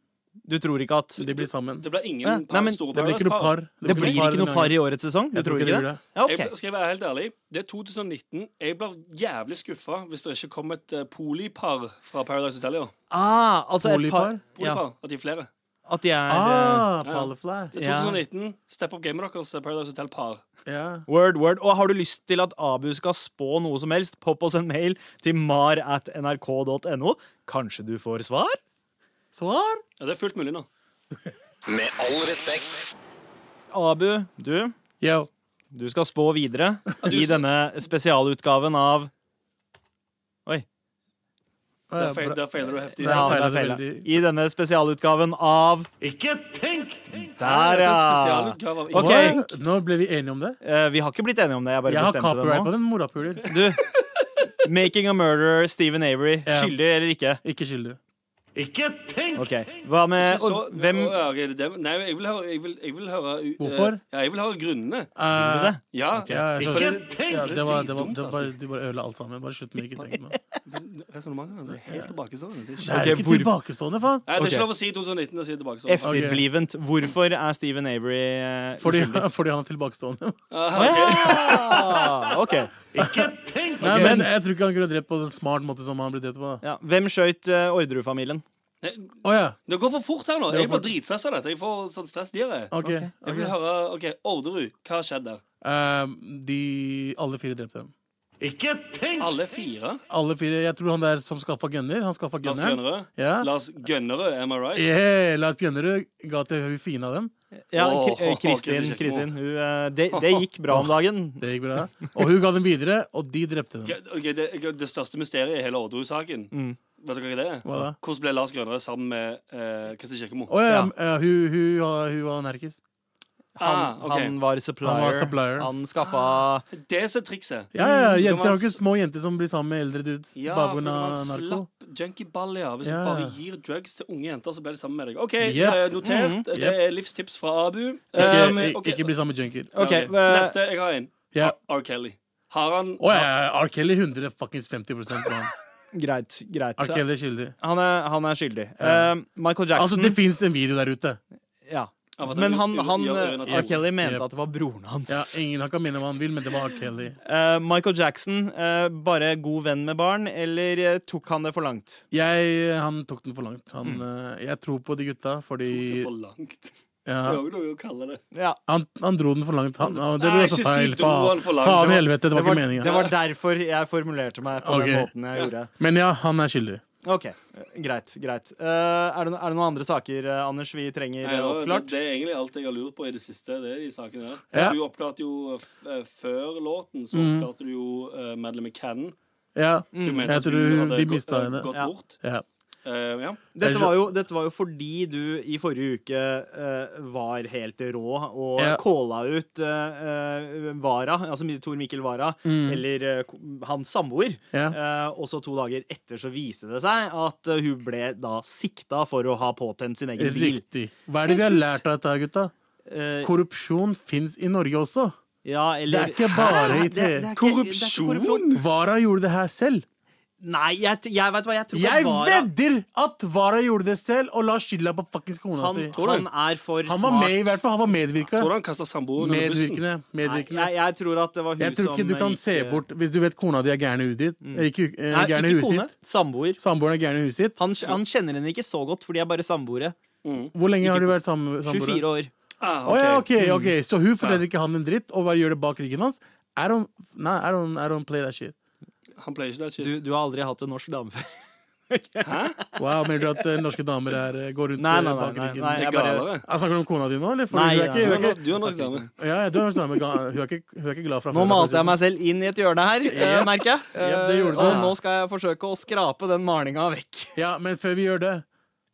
Speaker 5: Du tror ikke at
Speaker 6: De blir sammen.
Speaker 7: Det blir
Speaker 5: Ja,
Speaker 7: ingen
Speaker 5: nei, men
Speaker 7: store
Speaker 6: Det blir ikke noe par.
Speaker 5: Det blir ikke
Speaker 6: den
Speaker 5: noe par
Speaker 6: gangen.
Speaker 5: i årets sesong? Du
Speaker 6: Jeg tror
Speaker 5: tror ikke
Speaker 6: ikke
Speaker 5: det?
Speaker 6: det blir det.
Speaker 5: Ja,
Speaker 7: Jeg,
Speaker 5: ok.
Speaker 7: skal jeg være helt ærlig, det er 2019. Jeg blir jævlig skuffa hvis det ikke kom et eh, polipar fra Paradise Hotel i år.
Speaker 5: Ah, altså et par
Speaker 6: Polipar?
Speaker 5: ja,
Speaker 7: Polipar, At de er flere.
Speaker 5: At de er eh,
Speaker 7: Ja.
Speaker 6: Ah, Palafly.
Speaker 7: Det er
Speaker 5: Ja.
Speaker 7: 2019. Step up gamet deres, eh, Paradise Hotel-par.
Speaker 6: Ja.
Speaker 5: Word, word. Og har du lyst til at Abu skal spå noe som helst, popp oss en mail til mar at nrk.no. Kanskje du får svar?
Speaker 6: Svar?
Speaker 7: Ja, det er fullt mulig nå.
Speaker 1: Med all respekt.
Speaker 5: Abu, du,
Speaker 6: Yo.
Speaker 5: Du skal spå videre i denne spesialutgaven av Oi.
Speaker 7: Der feil- der feiler du heftig.
Speaker 5: Ja,
Speaker 6: feilet
Speaker 5: der feilet.
Speaker 6: veldig.
Speaker 5: I denne spesialutgaven av
Speaker 6: Ikke tenk!
Speaker 5: Der, ja!
Speaker 7: ja.
Speaker 5: Ok,
Speaker 6: Oi, Nå ble vi enige om det.
Speaker 5: eh, Vi har ikke blitt enige om det. Jeg bare
Speaker 6: Jeg har
Speaker 5: bestemte
Speaker 6: copyright på
Speaker 5: det nå.
Speaker 6: den, morapuler.
Speaker 5: Du, 'Making a Murderer', Stephen Avery.
Speaker 6: Ja.
Speaker 5: Skyldig eller ikke?
Speaker 6: Ikke skyldig.
Speaker 5: Ok, Hva med
Speaker 7: Så,
Speaker 5: eh, og, Hvem
Speaker 7: Å, ja, er det dem? Nei, jeg vil høre, jeg vil, jeg vil høre uh,
Speaker 6: Hvorfor?
Speaker 7: Ja, jeg vil høre grunnene.
Speaker 6: Eh,
Speaker 5: det?
Speaker 7: Ja,
Speaker 6: ja, jeg skjønner. ja, det var, det var,
Speaker 7: Dumt,
Speaker 6: det var,
Speaker 7: altså.
Speaker 6: du bare ødela alt sammen. Bare slutt med ikke tenke med det.
Speaker 7: resonnementet hans er helt tilbakestående. Det er
Speaker 6: Det
Speaker 7: ikke-
Speaker 6: er
Speaker 5: Ok,
Speaker 6: ikke
Speaker 5: hvor-
Speaker 6: tilbakestående,
Speaker 7: Nei,
Speaker 6: faen.
Speaker 7: det er
Speaker 5: Ok.
Speaker 7: ikke lov å si 2019. Det sånn. er tilbakestående.
Speaker 5: Efterblivent. Hvorfor er Stephen Avery eh,
Speaker 6: Fordi,
Speaker 5: uskyldig?
Speaker 6: fordi han er tilbakestående.
Speaker 7: Ah, ok.
Speaker 5: Ah, ok.
Speaker 6: Nei, men jeg tror ikke han kunne drept på en smart måte som han ble drept på. da.
Speaker 5: Ja. Hvem skjøt eh, Orderud-familien?
Speaker 7: Nei,
Speaker 6: Å ja.
Speaker 7: Det går for fort her nå.
Speaker 6: går
Speaker 7: Jeg får
Speaker 6: for-
Speaker 7: dritstress av dette. Jeg får sånn stressdiaré.
Speaker 6: OK.
Speaker 7: Jeg vil høre OK, Orderud, hva skjedde der?
Speaker 6: Eh, de Alle fire drepte dem.
Speaker 7: Alle fire?
Speaker 6: Alle fire, Jeg tror han der som skaffa gunner, han skaffa
Speaker 7: Lars
Speaker 6: gunneren.
Speaker 7: Grønnerød?
Speaker 6: Ja.
Speaker 7: Lars Grønnerød, am I right?
Speaker 6: Yeah, Lars Gunnerud ga til hun fine av dem.
Speaker 5: Ja,
Speaker 7: Åh,
Speaker 5: Kri- eh, Kristin.
Speaker 7: Kristin
Speaker 5: Kristin hun, eh, det, det gikk bra om dagen.
Speaker 6: Det gikk bra. Og hun ga dem videre, og de drepte dem.
Speaker 7: Ok, ok, det, ok, det største mysteriet i hele Orderud-saken, vet dere hva det er?
Speaker 6: Mm. Hva da?
Speaker 7: Hvordan ble Lars Grønnerød sammen med eh, Kristin Kjekkemo?
Speaker 6: Å ja, eh, hun, hun, var- hun var nerkis.
Speaker 5: Han,
Speaker 7: Ah, ok.
Speaker 5: han var supplier.
Speaker 6: Han var supplier.
Speaker 5: Han skaffa
Speaker 7: Det som er trikset.
Speaker 6: Ja, ja,
Speaker 7: Mm,
Speaker 6: jenter
Speaker 7: det
Speaker 6: har
Speaker 7: var-
Speaker 6: ikke små jenter som blir sammen med eldre dudes.
Speaker 7: Ja,
Speaker 6: bare
Speaker 7: for
Speaker 6: pga.
Speaker 7: man
Speaker 6: narko.
Speaker 7: slapp junkieball, ja. Hvis
Speaker 6: Ja.
Speaker 7: du bare gir drugs til unge jenter, så blir de sammen med deg. OK,
Speaker 6: Ja.
Speaker 7: eh, notert. Det
Speaker 6: Yep.
Speaker 7: er livstips fra Abu.
Speaker 6: Mm. Ikke,
Speaker 7: Um,
Speaker 6: ik-
Speaker 7: ok.
Speaker 6: ikke bli sammen med junkier.
Speaker 7: Ja, ok.
Speaker 5: Ok, eh,
Speaker 7: Neste. Jeg har en.
Speaker 6: Ja.
Speaker 7: R. Kelly. Har han
Speaker 6: Å ja, R. Kelly 100 fuckings 50 mann.
Speaker 5: Greit. greit
Speaker 6: R. Kelly er skyldig.
Speaker 5: Han, er, han er skyldig.
Speaker 6: Ja.
Speaker 5: Eh, Michael
Speaker 6: Altså,
Speaker 5: Jackson
Speaker 6: det fins en video der ute.
Speaker 5: ja.
Speaker 7: Ja, men
Speaker 5: Men
Speaker 7: det-
Speaker 5: han,
Speaker 7: det-
Speaker 5: han
Speaker 7: det- det- det-
Speaker 5: eh, R. Kelly mente
Speaker 6: Yep.
Speaker 5: at det var broren hans.
Speaker 6: Ja, ingen han kan minne hva han vil, men det var R. Kelly.
Speaker 5: Eh, Michael Jackson, eh, bare god venn med barn, eller eh, tok han det for langt?
Speaker 6: Jeg, han tok den for langt. Han,
Speaker 5: Mm.
Speaker 6: eh, jeg tror på de gutta, fordi
Speaker 7: Det er for langt. Det er
Speaker 6: ja,
Speaker 7: jo noe å kalle det.
Speaker 5: Ja.
Speaker 6: han, han dro den for langt. Han, han, det
Speaker 7: Nei,
Speaker 6: blir også
Speaker 7: ikke si
Speaker 6: feil.
Speaker 7: dro han
Speaker 6: Faen,
Speaker 7: for langt.
Speaker 6: faen i
Speaker 7: Det
Speaker 6: helvete, det var
Speaker 5: var,
Speaker 6: ikke meninga.
Speaker 5: det var derfor jeg formulerte meg på den
Speaker 6: Ok.
Speaker 5: måten jeg gjorde.
Speaker 6: Men ja, han er skyldig.
Speaker 5: Ok, eh, Greit. greit Eh, er, det, no- er det noen andre saker, eh, Anders, vi trenger
Speaker 7: Nei,
Speaker 5: eh,
Speaker 7: nå-
Speaker 5: oppklart?
Speaker 7: Det, det er egentlig alt jeg har lurt på i det siste. Det er de sakene der.
Speaker 6: Ja.
Speaker 7: Du oppklarte jo f eh, før låten, så oppklarte du jo uh, Madeleine McCann.
Speaker 6: Ja.
Speaker 7: Du mente
Speaker 6: Mm. Jeg
Speaker 7: at
Speaker 6: tror
Speaker 7: hun
Speaker 6: de
Speaker 7: hadde gå-
Speaker 6: mistet
Speaker 7: eh,
Speaker 6: henne.
Speaker 7: Gått
Speaker 5: Ja.
Speaker 7: bort.
Speaker 6: ja.
Speaker 7: Eh, ja.
Speaker 5: Dette var, jo, dette var jo fordi du i forrige uke eh, var helt rå og
Speaker 6: Ja.
Speaker 5: calla ut eh, eh, Vara, altså Tor Mikkel Wara, eller eh, ko- hans samboer.
Speaker 6: Mm.
Speaker 5: Eh,
Speaker 6: Ja.
Speaker 5: og så to dager etter så viste det seg at eh, hun ble da sikta for å ha påtent sin egen bil.
Speaker 6: Riktig. Hva er det vi har
Speaker 5: Helt
Speaker 6: lært av dette, her, gutta?
Speaker 5: Eh,
Speaker 6: Korrupsjon fins i Norge også.
Speaker 5: ja,
Speaker 6: Det
Speaker 5: eller
Speaker 6: er ikke bare i
Speaker 5: Det- det er
Speaker 6: TV.
Speaker 5: ikke- det er ikke korrupsjon.
Speaker 6: Vara gjorde det her selv.
Speaker 5: Nei, jeg, t- jeg vet hva, jeg tror
Speaker 6: Jeg
Speaker 5: Vara-
Speaker 6: vedder at Vara gjorde det selv og la skylda på fuckings kona
Speaker 5: han,
Speaker 6: si.
Speaker 5: han er for
Speaker 6: Han var
Speaker 5: smart.
Speaker 6: med i hvert fall, han var medvirka.
Speaker 7: Hvordan kasta samboeren under bussen?
Speaker 6: Medvirkende.
Speaker 5: Nei,
Speaker 6: medvirkende.
Speaker 5: jeg, jeg tror at det var hun
Speaker 6: Jeg tror ikke
Speaker 5: som
Speaker 6: du kan
Speaker 5: gikk,
Speaker 6: se
Speaker 5: eh,
Speaker 6: bort Hvis du vet kona di er gæren i huet ditt. eh, Ikke, eh,
Speaker 5: Nei,
Speaker 6: gæren i
Speaker 5: ikke
Speaker 6: huet
Speaker 5: kone.
Speaker 6: sitt.
Speaker 5: Samboer.
Speaker 6: Samboeren er gæren i huet sitt.
Speaker 5: Han, han kjenner henne ikke så godt, for de er bare samboere.
Speaker 6: Hvor lenge har du vært sammen?
Speaker 5: 24 år. Mm.
Speaker 7: Ah,
Speaker 6: Å ja,
Speaker 7: ok.
Speaker 6: ok, ok Så hun forteller ikke han en dritt og bare gjør det bak ryggen hans? I don't, nei, I don't, I don't play that shit.
Speaker 7: Han pleier ikke det shit.
Speaker 5: Du, du har aldri hatt en norsk dame før.
Speaker 6: Wow, Mener du at eh, norske damer er, eh, går rundt
Speaker 5: Nei, nei,
Speaker 6: eh,
Speaker 5: nei,
Speaker 6: bak
Speaker 5: nei,
Speaker 6: ryggen?
Speaker 5: nei,
Speaker 7: Det
Speaker 5: jeg
Speaker 7: er
Speaker 5: bare-
Speaker 7: galere.
Speaker 6: Ah, snakker du om kona di nå, eller? For
Speaker 5: Nei,
Speaker 6: hun er ikke,
Speaker 5: nei,
Speaker 7: Du
Speaker 6: hun
Speaker 7: er
Speaker 6: er ikke,
Speaker 7: nok- Du er nok dame.
Speaker 6: ja, ja, du er norsk dame, ga- hun, er ikke, hun er ikke glad for at
Speaker 5: Nå
Speaker 6: hun er
Speaker 5: malte jeg
Speaker 6: fra-
Speaker 5: meg selv inn i et hjørne her, eh, merker jeg.
Speaker 6: Ja, det gjorde
Speaker 5: Eh, og
Speaker 6: du.
Speaker 5: nå skal jeg forsøke å skrape den malinga vekk.
Speaker 6: Ja, Men før vi gjør det,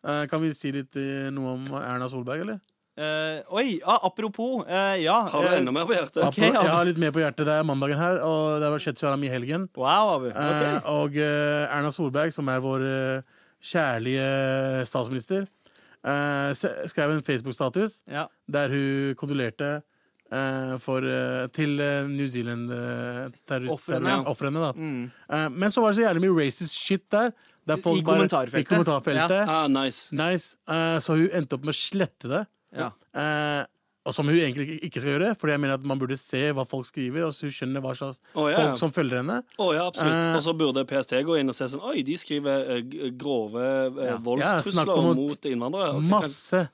Speaker 6: eh, kan vi si litt eh, noe om Erna Solberg, eller?
Speaker 5: Eh, oi, ah, apropos. eh, ja.
Speaker 7: Har du
Speaker 5: eh,
Speaker 7: enda mer på hjertet?
Speaker 5: Ok,
Speaker 6: Jeg
Speaker 5: ja.
Speaker 6: har litt mer på hjertet. Det er mandagen her, og det har skjedd så mye i helgen.
Speaker 5: Wow, Abu.
Speaker 6: Eh,
Speaker 5: Ok.
Speaker 6: og eh, Erna Solberg, som er vår eh, kjærlige statsminister, eh, se- skrev en Facebook-status
Speaker 5: Ja.
Speaker 6: der hun kondolerte eh, for, eh, til eh, New eh,
Speaker 5: Ofrene. Mm.
Speaker 6: Zealand-ofrene. da Eh, men så var det så jævlig mye racist shit der. der folk
Speaker 5: I
Speaker 6: bare-
Speaker 5: kommentarfeltet.
Speaker 6: I kommentarfeltet.
Speaker 7: Ah, nice.
Speaker 6: Nice. Eh, så hun endte opp med å slette det.
Speaker 5: Ja.
Speaker 6: Eh, og som hun egentlig ikke- ikke skal gjøre, Fordi jeg mener at man burde se hva folk skriver, og så hun skjønner hva slags
Speaker 7: Å, ja, ja.
Speaker 6: folk som følger henne.
Speaker 7: Å ja, absolutt.
Speaker 6: Eh,
Speaker 7: og så burde PST gå inn og se sånn Oi, de skriver eh, g- grove eh,
Speaker 6: Ja,
Speaker 7: voldstrusler
Speaker 6: snakk om å-
Speaker 7: mot innvandrere. Ok, Mm. kan-
Speaker 6: Masse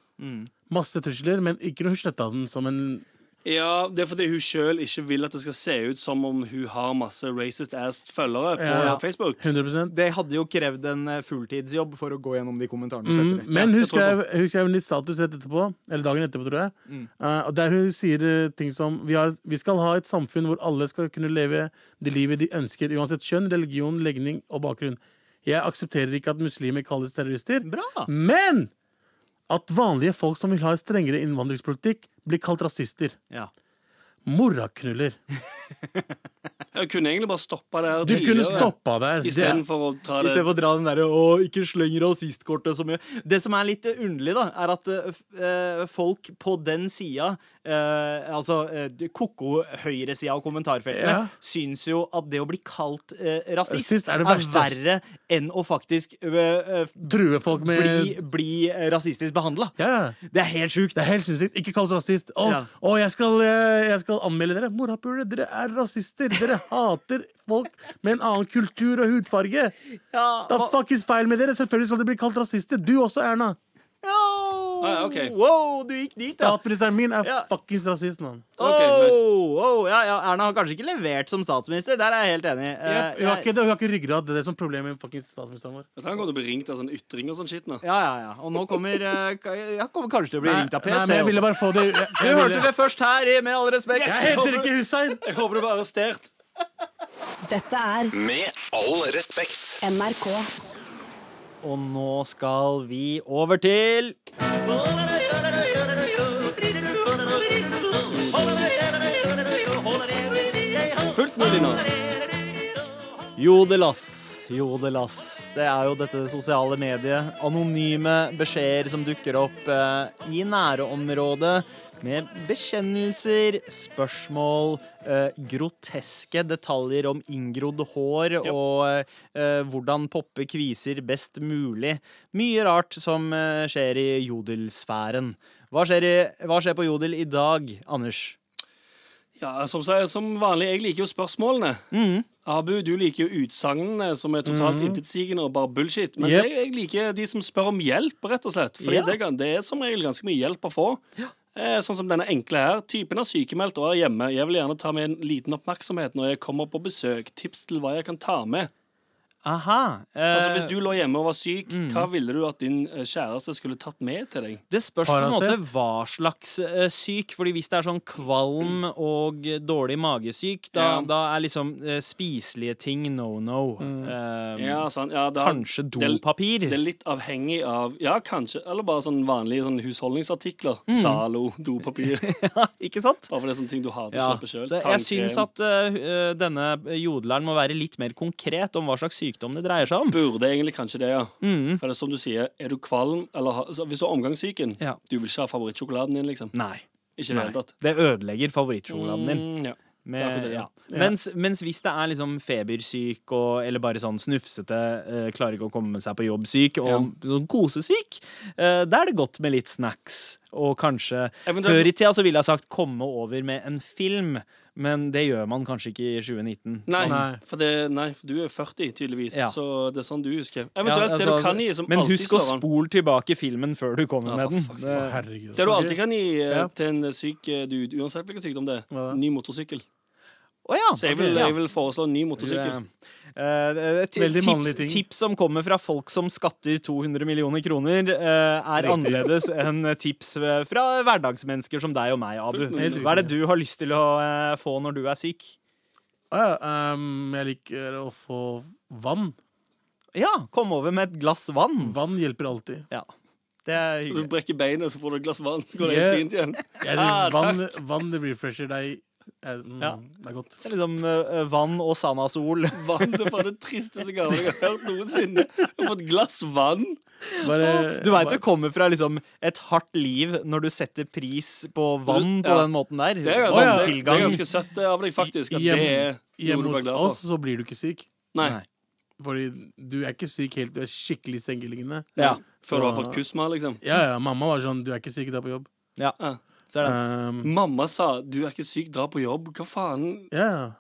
Speaker 6: Masse trusler, men ikke noe hun sletta den som en
Speaker 7: Ja, det er fordi hun sjøl ikke vil at det skal se ut som om hun har masse racist ass-følgere på
Speaker 6: Ja.
Speaker 7: Facebook.
Speaker 6: 100
Speaker 5: Det hadde jo krevd en eh, fulltidsjobb for å gå gjennom de kommentarene.
Speaker 6: Mm,
Speaker 5: Petter.
Speaker 6: men hun
Speaker 7: jeg tror på Mm.
Speaker 6: skrev, hun skrev en litt status rett etterpå, eller dagen etterpå, tror jeg. Eh, og der hun sier eh, ting som vi, har, vi skal ha et samfunn hvor alle skal kunne leve det livet de ønsker, uansett kjønn, religion, legning og bakgrunn. Jeg aksepterer ikke at muslimer kalles terrorister,
Speaker 5: Bra.
Speaker 6: men at vanlige folk som vil ha en strengere innvandringspolitikk, blir kalt rasister.
Speaker 5: Ja.
Speaker 6: Moraknuller.
Speaker 7: Jeg kunne egentlig bare stoppa der
Speaker 6: Du kunne stoppa der. Det er-
Speaker 7: istedenfor å ta
Speaker 5: I
Speaker 7: det
Speaker 5: stedet for å dra den derre 'å, ikke sleng rasistkortet' så mye. Det som er litt eh, underlig, da, er at eh, f- eh, folk på den sida, eh, altså eh, ko-ko høyresida av kommentarfeltene,
Speaker 6: Ja.
Speaker 5: syns jo at det å bli kalt eh, rasist,
Speaker 6: Rasist er det verste, ass.
Speaker 5: verre enn å faktisk eh, eh,
Speaker 6: True folk med
Speaker 5: bli, bli eh, rasistisk behandla.
Speaker 6: Ja, ja.
Speaker 5: Det er helt sjukt.
Speaker 6: Det er helt sinnssykt. Ikke kall oss rasist. Å,
Speaker 5: Ja.
Speaker 6: å, jeg, skal, eh, jeg skal anmelde dere. Morapulere, dere er rasister. Dere hater folk med en annen kultur og hudfarge.
Speaker 5: Ja,
Speaker 6: Da
Speaker 5: hva-
Speaker 6: fuck is feil med dere? Selvfølgelig skal dere bli kalt rasister. Du også, Erna.
Speaker 5: Au!
Speaker 7: Ah, ja, ok.
Speaker 5: Wow, du gikk dit, da.
Speaker 6: Statsministeren min er
Speaker 5: Ja.
Speaker 6: fuckings rasist, mann.
Speaker 5: Oh,
Speaker 7: Ok, nice.
Speaker 5: oh, ja, ja, Erna har kanskje ikke levert som statsminister. Der er jeg helt enig. Eh,
Speaker 6: Jep, Hun har
Speaker 5: jeg-
Speaker 6: ikke, hun har ikke ryggrad. Det er det som er problemet med fuckings statsministeren vår.
Speaker 7: Han kommer til å bli ringt av sånn ytring og sånn shit nå.
Speaker 5: Ja, ja, ja. Og nå kommer, eh, ka- ja, kommer kanskje til å bli ringt av PST.
Speaker 6: nei, men jeg ville
Speaker 5: også.
Speaker 6: bare få det jeg, jeg,
Speaker 5: Du hørte
Speaker 6: ville-
Speaker 5: det først her, i med all respekt.
Speaker 6: Jeg heter ikke Hussein!
Speaker 7: Jeg håper du blir arrestert.
Speaker 3: Dette er
Speaker 1: Med all respekt.
Speaker 3: NRK.
Speaker 5: Og nå skal vi over til
Speaker 7: Fullt mulig nå.
Speaker 5: Jodelas. Jodelas. Det er jo dette sosiale mediet. Anonyme beskjeder som dukker opp eh, i nærområdet. Med bekjennelser, spørsmål, eh, groteske detaljer om inngrodd hår og eh, hvordan poppe kviser best mulig. Mye rart som eh, skjer i jodelsfæren. Hva skjer, i, hva skjer på jodel i dag, Anders?
Speaker 7: Ja, som, sa- som vanlig, jeg liker jo spørsmålene.
Speaker 5: Mm.
Speaker 7: Abu, du liker jo utsagnene som er totalt intetsigende og bare bullshit. Mens
Speaker 6: Yep.
Speaker 7: jeg, jeg liker de som spør om hjelp, rett og slett. Fordi
Speaker 5: Ja.
Speaker 7: det, kan- det er som regel ganske mye hjelp å få. Eh, sånn som denne enkle her. Typen er sykemeldt og er hjemme. Jeg vil gjerne ta med en liten oppmerksomhet når jeg kommer på besøk. Tips til hva jeg kan ta med.
Speaker 5: Aha. eh, mm.
Speaker 7: Altså, Hvis du lå hjemme og var syk, hva ville du at din eh, kjæreste skulle tatt med til deg?
Speaker 5: Det spørs på en måte
Speaker 6: Paracet?
Speaker 5: hva slags eh, syk. Fordi hvis det er sånn kvalm og eh, dårlig magesyk, da,
Speaker 7: Ja.
Speaker 5: da er liksom eh, spiselige ting no no. Eh,
Speaker 7: Ja, sant. Ja, da,
Speaker 5: Kanskje dopapir.
Speaker 7: Det er litt avhengig av Ja, kanskje. Eller bare sånn vanlige sånn husholdningsartikler.
Speaker 5: Mm.
Speaker 7: Zalo, dopapir.
Speaker 5: Ikke sant?
Speaker 7: Bare for det er sånne ting du hater
Speaker 5: Ja.
Speaker 7: å kjøpe sjøl.
Speaker 5: Så jeg syns at eh, denne jodleren må være litt mer konkret om hva slags sykdom det dreier seg om.
Speaker 7: Burde egentlig kanskje det, ja.
Speaker 5: Mm.
Speaker 7: For det er som du sier, er du kvalm eller har- altså, Hvis du er omgangssyken,
Speaker 5: Ja.
Speaker 7: du vil ikke ha favorittsjokoladen din, liksom.
Speaker 5: Nei.
Speaker 7: Ikke i det hele tatt.
Speaker 5: Det ødelegger favorittsjokoladen din.
Speaker 7: Mm, ja.
Speaker 5: Med,
Speaker 7: Akkurat det,
Speaker 5: ja.
Speaker 7: ja.
Speaker 5: Mens, mens hvis det er liksom febersyk og, eller bare sånn snufsete, eh, klarer ikke å komme seg på jobb-syk og sånn kosesyk, eh, da er det godt med litt snacks. Og kanskje
Speaker 7: Eventuelt-
Speaker 5: Før i tida så ville jeg sagt 'komme over med en film', men det gjør man kanskje ikke i 2019.
Speaker 7: Nei,
Speaker 6: Nei.
Speaker 7: For det, nei, for du er 40, tydeligvis,
Speaker 5: Ja.
Speaker 7: så det er sånn du husker.
Speaker 5: Ja,
Speaker 7: Eventuelt det
Speaker 5: altså,
Speaker 7: du kan gi, som
Speaker 5: men
Speaker 7: alltid
Speaker 5: husk å
Speaker 7: slår an.
Speaker 5: spole tilbake filmen før du kommer
Speaker 7: Ja,
Speaker 5: med
Speaker 7: for
Speaker 5: den.
Speaker 7: fuck's
Speaker 5: Det,
Speaker 6: Herregud.
Speaker 7: Det du alltid kan gi eh,
Speaker 6: Ja.
Speaker 7: til en syk eh, dude, uansett hvilken sykdom det er,
Speaker 6: Hva da?
Speaker 7: ny motorsykkel.
Speaker 5: Å ja,
Speaker 7: Så jeg
Speaker 5: ok,
Speaker 7: vil,
Speaker 5: ja.
Speaker 7: jeg vil foreslå en ny motorsykkel.
Speaker 5: Eh, eh, ti-
Speaker 6: Veldig mannlige ting.
Speaker 5: tips, tips som kommer fra folk som skatter 200 millioner kroner, eh, er annerledes enn tips eh, fra hverdagsmennesker som deg og meg, Abu.
Speaker 7: Fullt mulig.
Speaker 5: Hva er det du har lyst til å eh, få når du er syk?
Speaker 6: Ja, ehm, jeg liker å få vann.
Speaker 5: Ja, kom over med et glass vann.
Speaker 6: Vann hjelper alltid.
Speaker 5: Ja, det er
Speaker 7: Du
Speaker 5: hyggelig.
Speaker 7: brekker beinet, så får du et glass vann. Går det
Speaker 6: Yeah.
Speaker 7: helt fint igjen?
Speaker 6: Jeg
Speaker 7: Ah,
Speaker 6: synes vann, vann refresher deg. Eh, Mm,
Speaker 5: Ja.
Speaker 6: Det er godt.
Speaker 5: Det er liksom eh, vann og Sanasol.
Speaker 7: Vann det er bare det tristeste gaven jeg har hørt noensinne. Jeg har fått et glass vann.
Speaker 6: Bare-
Speaker 5: Du veit du kommer fra liksom et hardt liv når du setter pris på vann på
Speaker 7: Ja.
Speaker 5: den måten der.
Speaker 7: Det er, jo-
Speaker 6: Å, ja.
Speaker 7: det, det er
Speaker 5: Vanntilgang.
Speaker 7: ganske søtt eh, av deg, faktisk. At det
Speaker 6: Hjem-
Speaker 7: er noe du
Speaker 6: Hjemme hos
Speaker 7: var glad
Speaker 6: oss
Speaker 7: for.
Speaker 6: så blir du ikke syk.
Speaker 7: Nei,
Speaker 5: Nei.
Speaker 6: Fordi du er ikke syk helt, du er skikkelig sengeliggende.
Speaker 5: Ja,
Speaker 7: Før du har fått kusma, liksom. Ah.
Speaker 6: Ja, ja, mamma var sånn, du er ikke syk, du er på jobb.
Speaker 5: så er det.
Speaker 6: Um,
Speaker 7: Mamma sa 'du er ikke syk, dra på jobb'. Hva faen?
Speaker 6: ja, ja.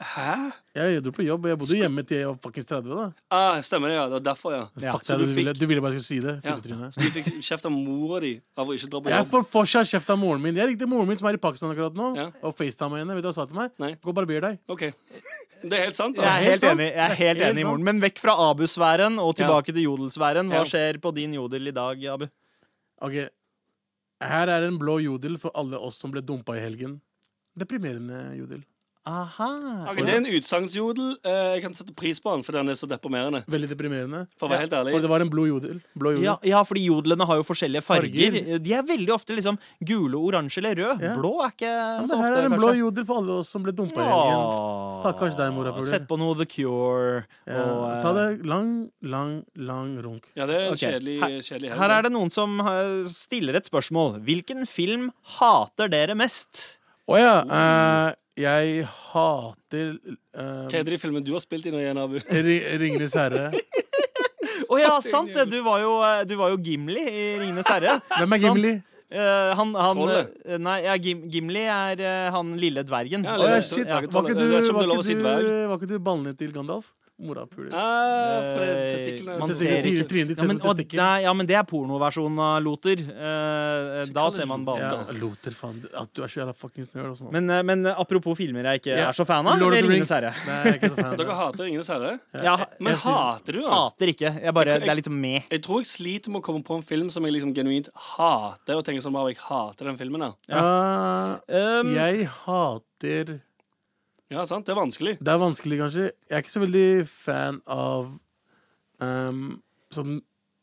Speaker 7: Hæ?
Speaker 6: Jeg gjorde det på jobb, og jeg bodde hjemme til jeg var fuckings 30. da
Speaker 7: Ah, stemmer det, ja. Det var derfor, ja.
Speaker 5: Ja,
Speaker 6: Fuck
Speaker 7: så
Speaker 6: deg,
Speaker 7: du
Speaker 6: du, ville,
Speaker 7: fikk-
Speaker 6: du ville bare jeg skulle si det.
Speaker 7: ja.
Speaker 6: fittetryne.
Speaker 7: Så du fikk kjeft av mora di av å ikke dra på
Speaker 6: Jeg
Speaker 7: jobb?
Speaker 6: får fortsatt kjeft av moren min. Jeg ringte moren min som er i Pakistan akkurat nå,
Speaker 7: Ja.
Speaker 6: og facetime henne. Vet du hva hun sa til meg?
Speaker 7: Nei.
Speaker 6: Gå og barber deg.
Speaker 7: OK. Det er helt sant,
Speaker 5: Jeg
Speaker 7: da.
Speaker 5: er
Speaker 6: helt
Speaker 5: helt
Speaker 6: sant.
Speaker 5: enig, jeg er helt
Speaker 6: Det er helt
Speaker 5: enig i moren.
Speaker 6: sant.
Speaker 5: Men vekk fra Abu-sfæren og
Speaker 7: Ja.
Speaker 5: tilbake til jodelsfæren.
Speaker 7: Ja.
Speaker 5: Hva skjer på din jodel i dag, Abu?
Speaker 6: Ok, Her er en blå jodel for alle oss som ble dumpa i helgen. Deprimerende jodel.
Speaker 5: Aha.
Speaker 7: Ok, det er en utsagnsjodel. Eh, Jeg kan sette pris på den, for den er så deprimerende.
Speaker 6: Veldig deprimerende.
Speaker 7: For å være helt ærlig.
Speaker 6: For det var en blå jodel. Blå jodel.
Speaker 5: Ja, ja, fordi jodelene har jo forskjellige farger.
Speaker 6: Farger.
Speaker 5: De er veldig ofte liksom gule, oransje eller rød.
Speaker 6: Ja.
Speaker 5: Blå er ikke
Speaker 6: Ja,
Speaker 5: så
Speaker 6: men
Speaker 5: ofte,
Speaker 6: her er en blå
Speaker 5: kanskje.
Speaker 6: jodel for alle oss som ble dumpa i helgen.
Speaker 5: Åh.
Speaker 6: Stakkars deg, morapuler.
Speaker 5: Sett på noe The Cure.
Speaker 6: Ja,
Speaker 5: og, eh,
Speaker 6: ta deg lang, lang, lang runk.
Speaker 7: Ja, det er en
Speaker 5: Ok.
Speaker 7: kjedelig,
Speaker 5: Her-
Speaker 7: kjedelig
Speaker 5: Her er det noen som eh, stiller et spørsmål. Hvilken film hater dere mest?
Speaker 6: Å ja. eh, jeg hater
Speaker 7: Hva
Speaker 6: uh,
Speaker 7: heter de filmene du har spilt i nå igjen, Abu?
Speaker 6: Ringenes herre.
Speaker 5: Å ja, sant det! Du var jo, eh, du var jo Gimli i Ringenes herre.
Speaker 6: Hvem er
Speaker 5: Sant?
Speaker 6: Gimli?
Speaker 5: Eh, han, han
Speaker 7: Trollet.
Speaker 5: eh, Nei, ja, Gim, Gimli er eh, han lille dvergen.
Speaker 7: Ja,
Speaker 6: Å ja,
Speaker 7: eller-
Speaker 6: shit.
Speaker 7: Ja,
Speaker 6: Var ikke
Speaker 7: det er
Speaker 6: du,
Speaker 7: ikke om det
Speaker 6: var
Speaker 7: er lov å
Speaker 6: ikke
Speaker 7: si
Speaker 6: du,
Speaker 7: dverg.
Speaker 6: var ikke du ballene til Gandalf? Morapuler.
Speaker 7: Ah, for det er
Speaker 5: Eh,
Speaker 7: testiklene
Speaker 5: man
Speaker 6: Det
Speaker 5: ser
Speaker 6: ser-
Speaker 5: ikke-
Speaker 6: Trynet ditt
Speaker 5: Ja,
Speaker 6: ser ut
Speaker 5: men,
Speaker 6: som
Speaker 5: og,
Speaker 6: testikkel.
Speaker 5: nei, ja, men det er pornoversjonen av Loter. Eh, eh, da ser man banen.
Speaker 6: Ja, Loter, faen. At du er så jævla fuckings nerd. altså, mann.
Speaker 5: Men, eh, men apropos filmer jeg ikke
Speaker 6: Ja.
Speaker 5: er så fan av.
Speaker 6: Lord of
Speaker 5: eller
Speaker 6: the
Speaker 5: Ringenes
Speaker 6: Rings.
Speaker 5: herre.
Speaker 6: Nei, jeg er ikke så fan.
Speaker 7: Dere hater Ringenes herre?
Speaker 5: Ja,
Speaker 7: Men
Speaker 5: jeg syns-
Speaker 7: hater du han?
Speaker 5: hater ikke. Jeg bare, det er litt sånn med.
Speaker 7: Jeg tror jeg sliter med å komme på en film som jeg liksom genuint hater. Og tenker sånn, «Wow, jeg hater den filmen her.
Speaker 6: Ah,
Speaker 5: Um,
Speaker 6: jeg hater
Speaker 7: Ja, sant? Det er vanskelig.
Speaker 6: Det er vanskelig, kanskje. Jeg er ikke så veldig fan av ehm, sånn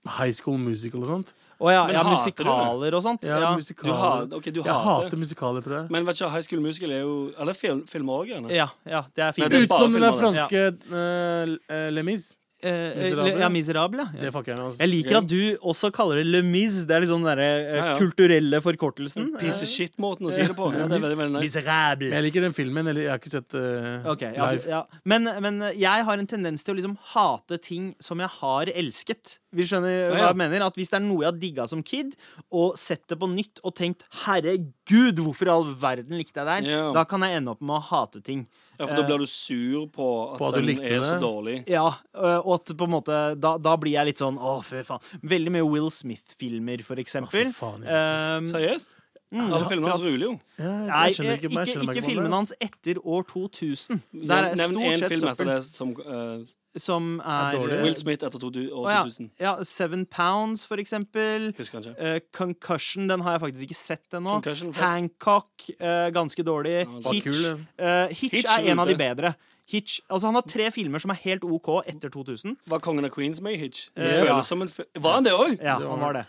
Speaker 6: high school musical og sånt.
Speaker 5: Å ja,
Speaker 7: Men
Speaker 5: ja,
Speaker 7: hater du det?
Speaker 5: musikaler og sånt.
Speaker 6: Ja,
Speaker 5: Ja.
Speaker 7: Du
Speaker 6: musikaler.
Speaker 7: hater, ok, du
Speaker 6: jeg
Speaker 7: hater.
Speaker 6: hater musikaler, tror jeg.
Speaker 7: Men vet ikke, High School Musical er jo Eller film, filmer òg, gjerne.
Speaker 5: Ja, ja, det er
Speaker 7: Nei, det-
Speaker 5: fint.
Speaker 7: bare
Speaker 6: Utenom den der
Speaker 7: filmer,
Speaker 6: franske eh, Lemis.
Speaker 5: Eh, eh,
Speaker 6: Miserable.
Speaker 5: ja, Miserable, ja.
Speaker 6: Det fucker jeg med.
Speaker 5: Jeg
Speaker 6: Altså.
Speaker 5: liker at du også kaller det Le Mis. Det er litt sånn den derre eh,
Speaker 7: Ja, ja.
Speaker 5: kulturelle forkortelsen. Eh,
Speaker 7: Piece of shit-måten å si det på. Ja, det er veldig, veldig nice.
Speaker 5: Miserable.
Speaker 6: Jeg liker den filmen. Eller jeg har ikke sett eh,
Speaker 5: Ok, ja,
Speaker 6: live.
Speaker 5: ja. Men, men jeg har en tendens til å liksom hate ting som jeg har elsket. Vi skjønner
Speaker 7: Ja,
Speaker 5: hva
Speaker 7: ja.
Speaker 5: jeg mener At Hvis det er noe jeg har digga som kid, og sett det på nytt og tenkt 'herregud, hvorfor i all verden likte jeg det her',
Speaker 7: Ja.
Speaker 5: da kan jeg ende opp med å hate ting.
Speaker 7: Ja, for da blir du sur på at,
Speaker 6: På at du
Speaker 7: den
Speaker 6: likte
Speaker 7: er så
Speaker 6: det.
Speaker 7: dårlig.
Speaker 5: Ja, øh, og at på en måte Da, da blir jeg litt sånn 'å, fy faen'. Veldig mye Will Smith-filmer, for eksempel.
Speaker 6: Å, fy faen,
Speaker 5: Ehm,
Speaker 7: Seriøst? Alle filmene hans ruler jo.
Speaker 6: Ja, jeg
Speaker 5: Nei,
Speaker 6: skjønner
Speaker 5: ikke,
Speaker 6: ikke,
Speaker 5: ikke,
Speaker 6: jeg skjønner meg
Speaker 5: filmene
Speaker 6: på det.
Speaker 5: hans etter år 2000. Der er
Speaker 7: Nevn
Speaker 5: stort
Speaker 7: én
Speaker 5: sett
Speaker 7: film etter
Speaker 5: søppel
Speaker 7: det som eh,
Speaker 5: som er,
Speaker 6: dårlig.
Speaker 5: øh,
Speaker 7: Will Smith etter 2000.
Speaker 5: Å ja. ja, Seven Pounds, for eksempel.
Speaker 7: Husker han ikke.
Speaker 5: Eh, Concussion, den har jeg faktisk ikke sett ennå.
Speaker 7: Concussion, fett.
Speaker 5: Hancock, eh, ganske dårlig.
Speaker 7: den
Speaker 6: var
Speaker 5: Hitch,
Speaker 6: kul,
Speaker 5: eh, Hitch,
Speaker 7: Hitch
Speaker 5: er en
Speaker 7: er
Speaker 5: av de
Speaker 7: ute.
Speaker 5: bedre. Hitch, altså Han har tre filmer som er helt OK etter 2000.
Speaker 7: Var kongen av Queens med i Hitch? Det
Speaker 5: Eh, ja.
Speaker 7: føles som en fi- Var han det òg?
Speaker 5: Ja, han var det.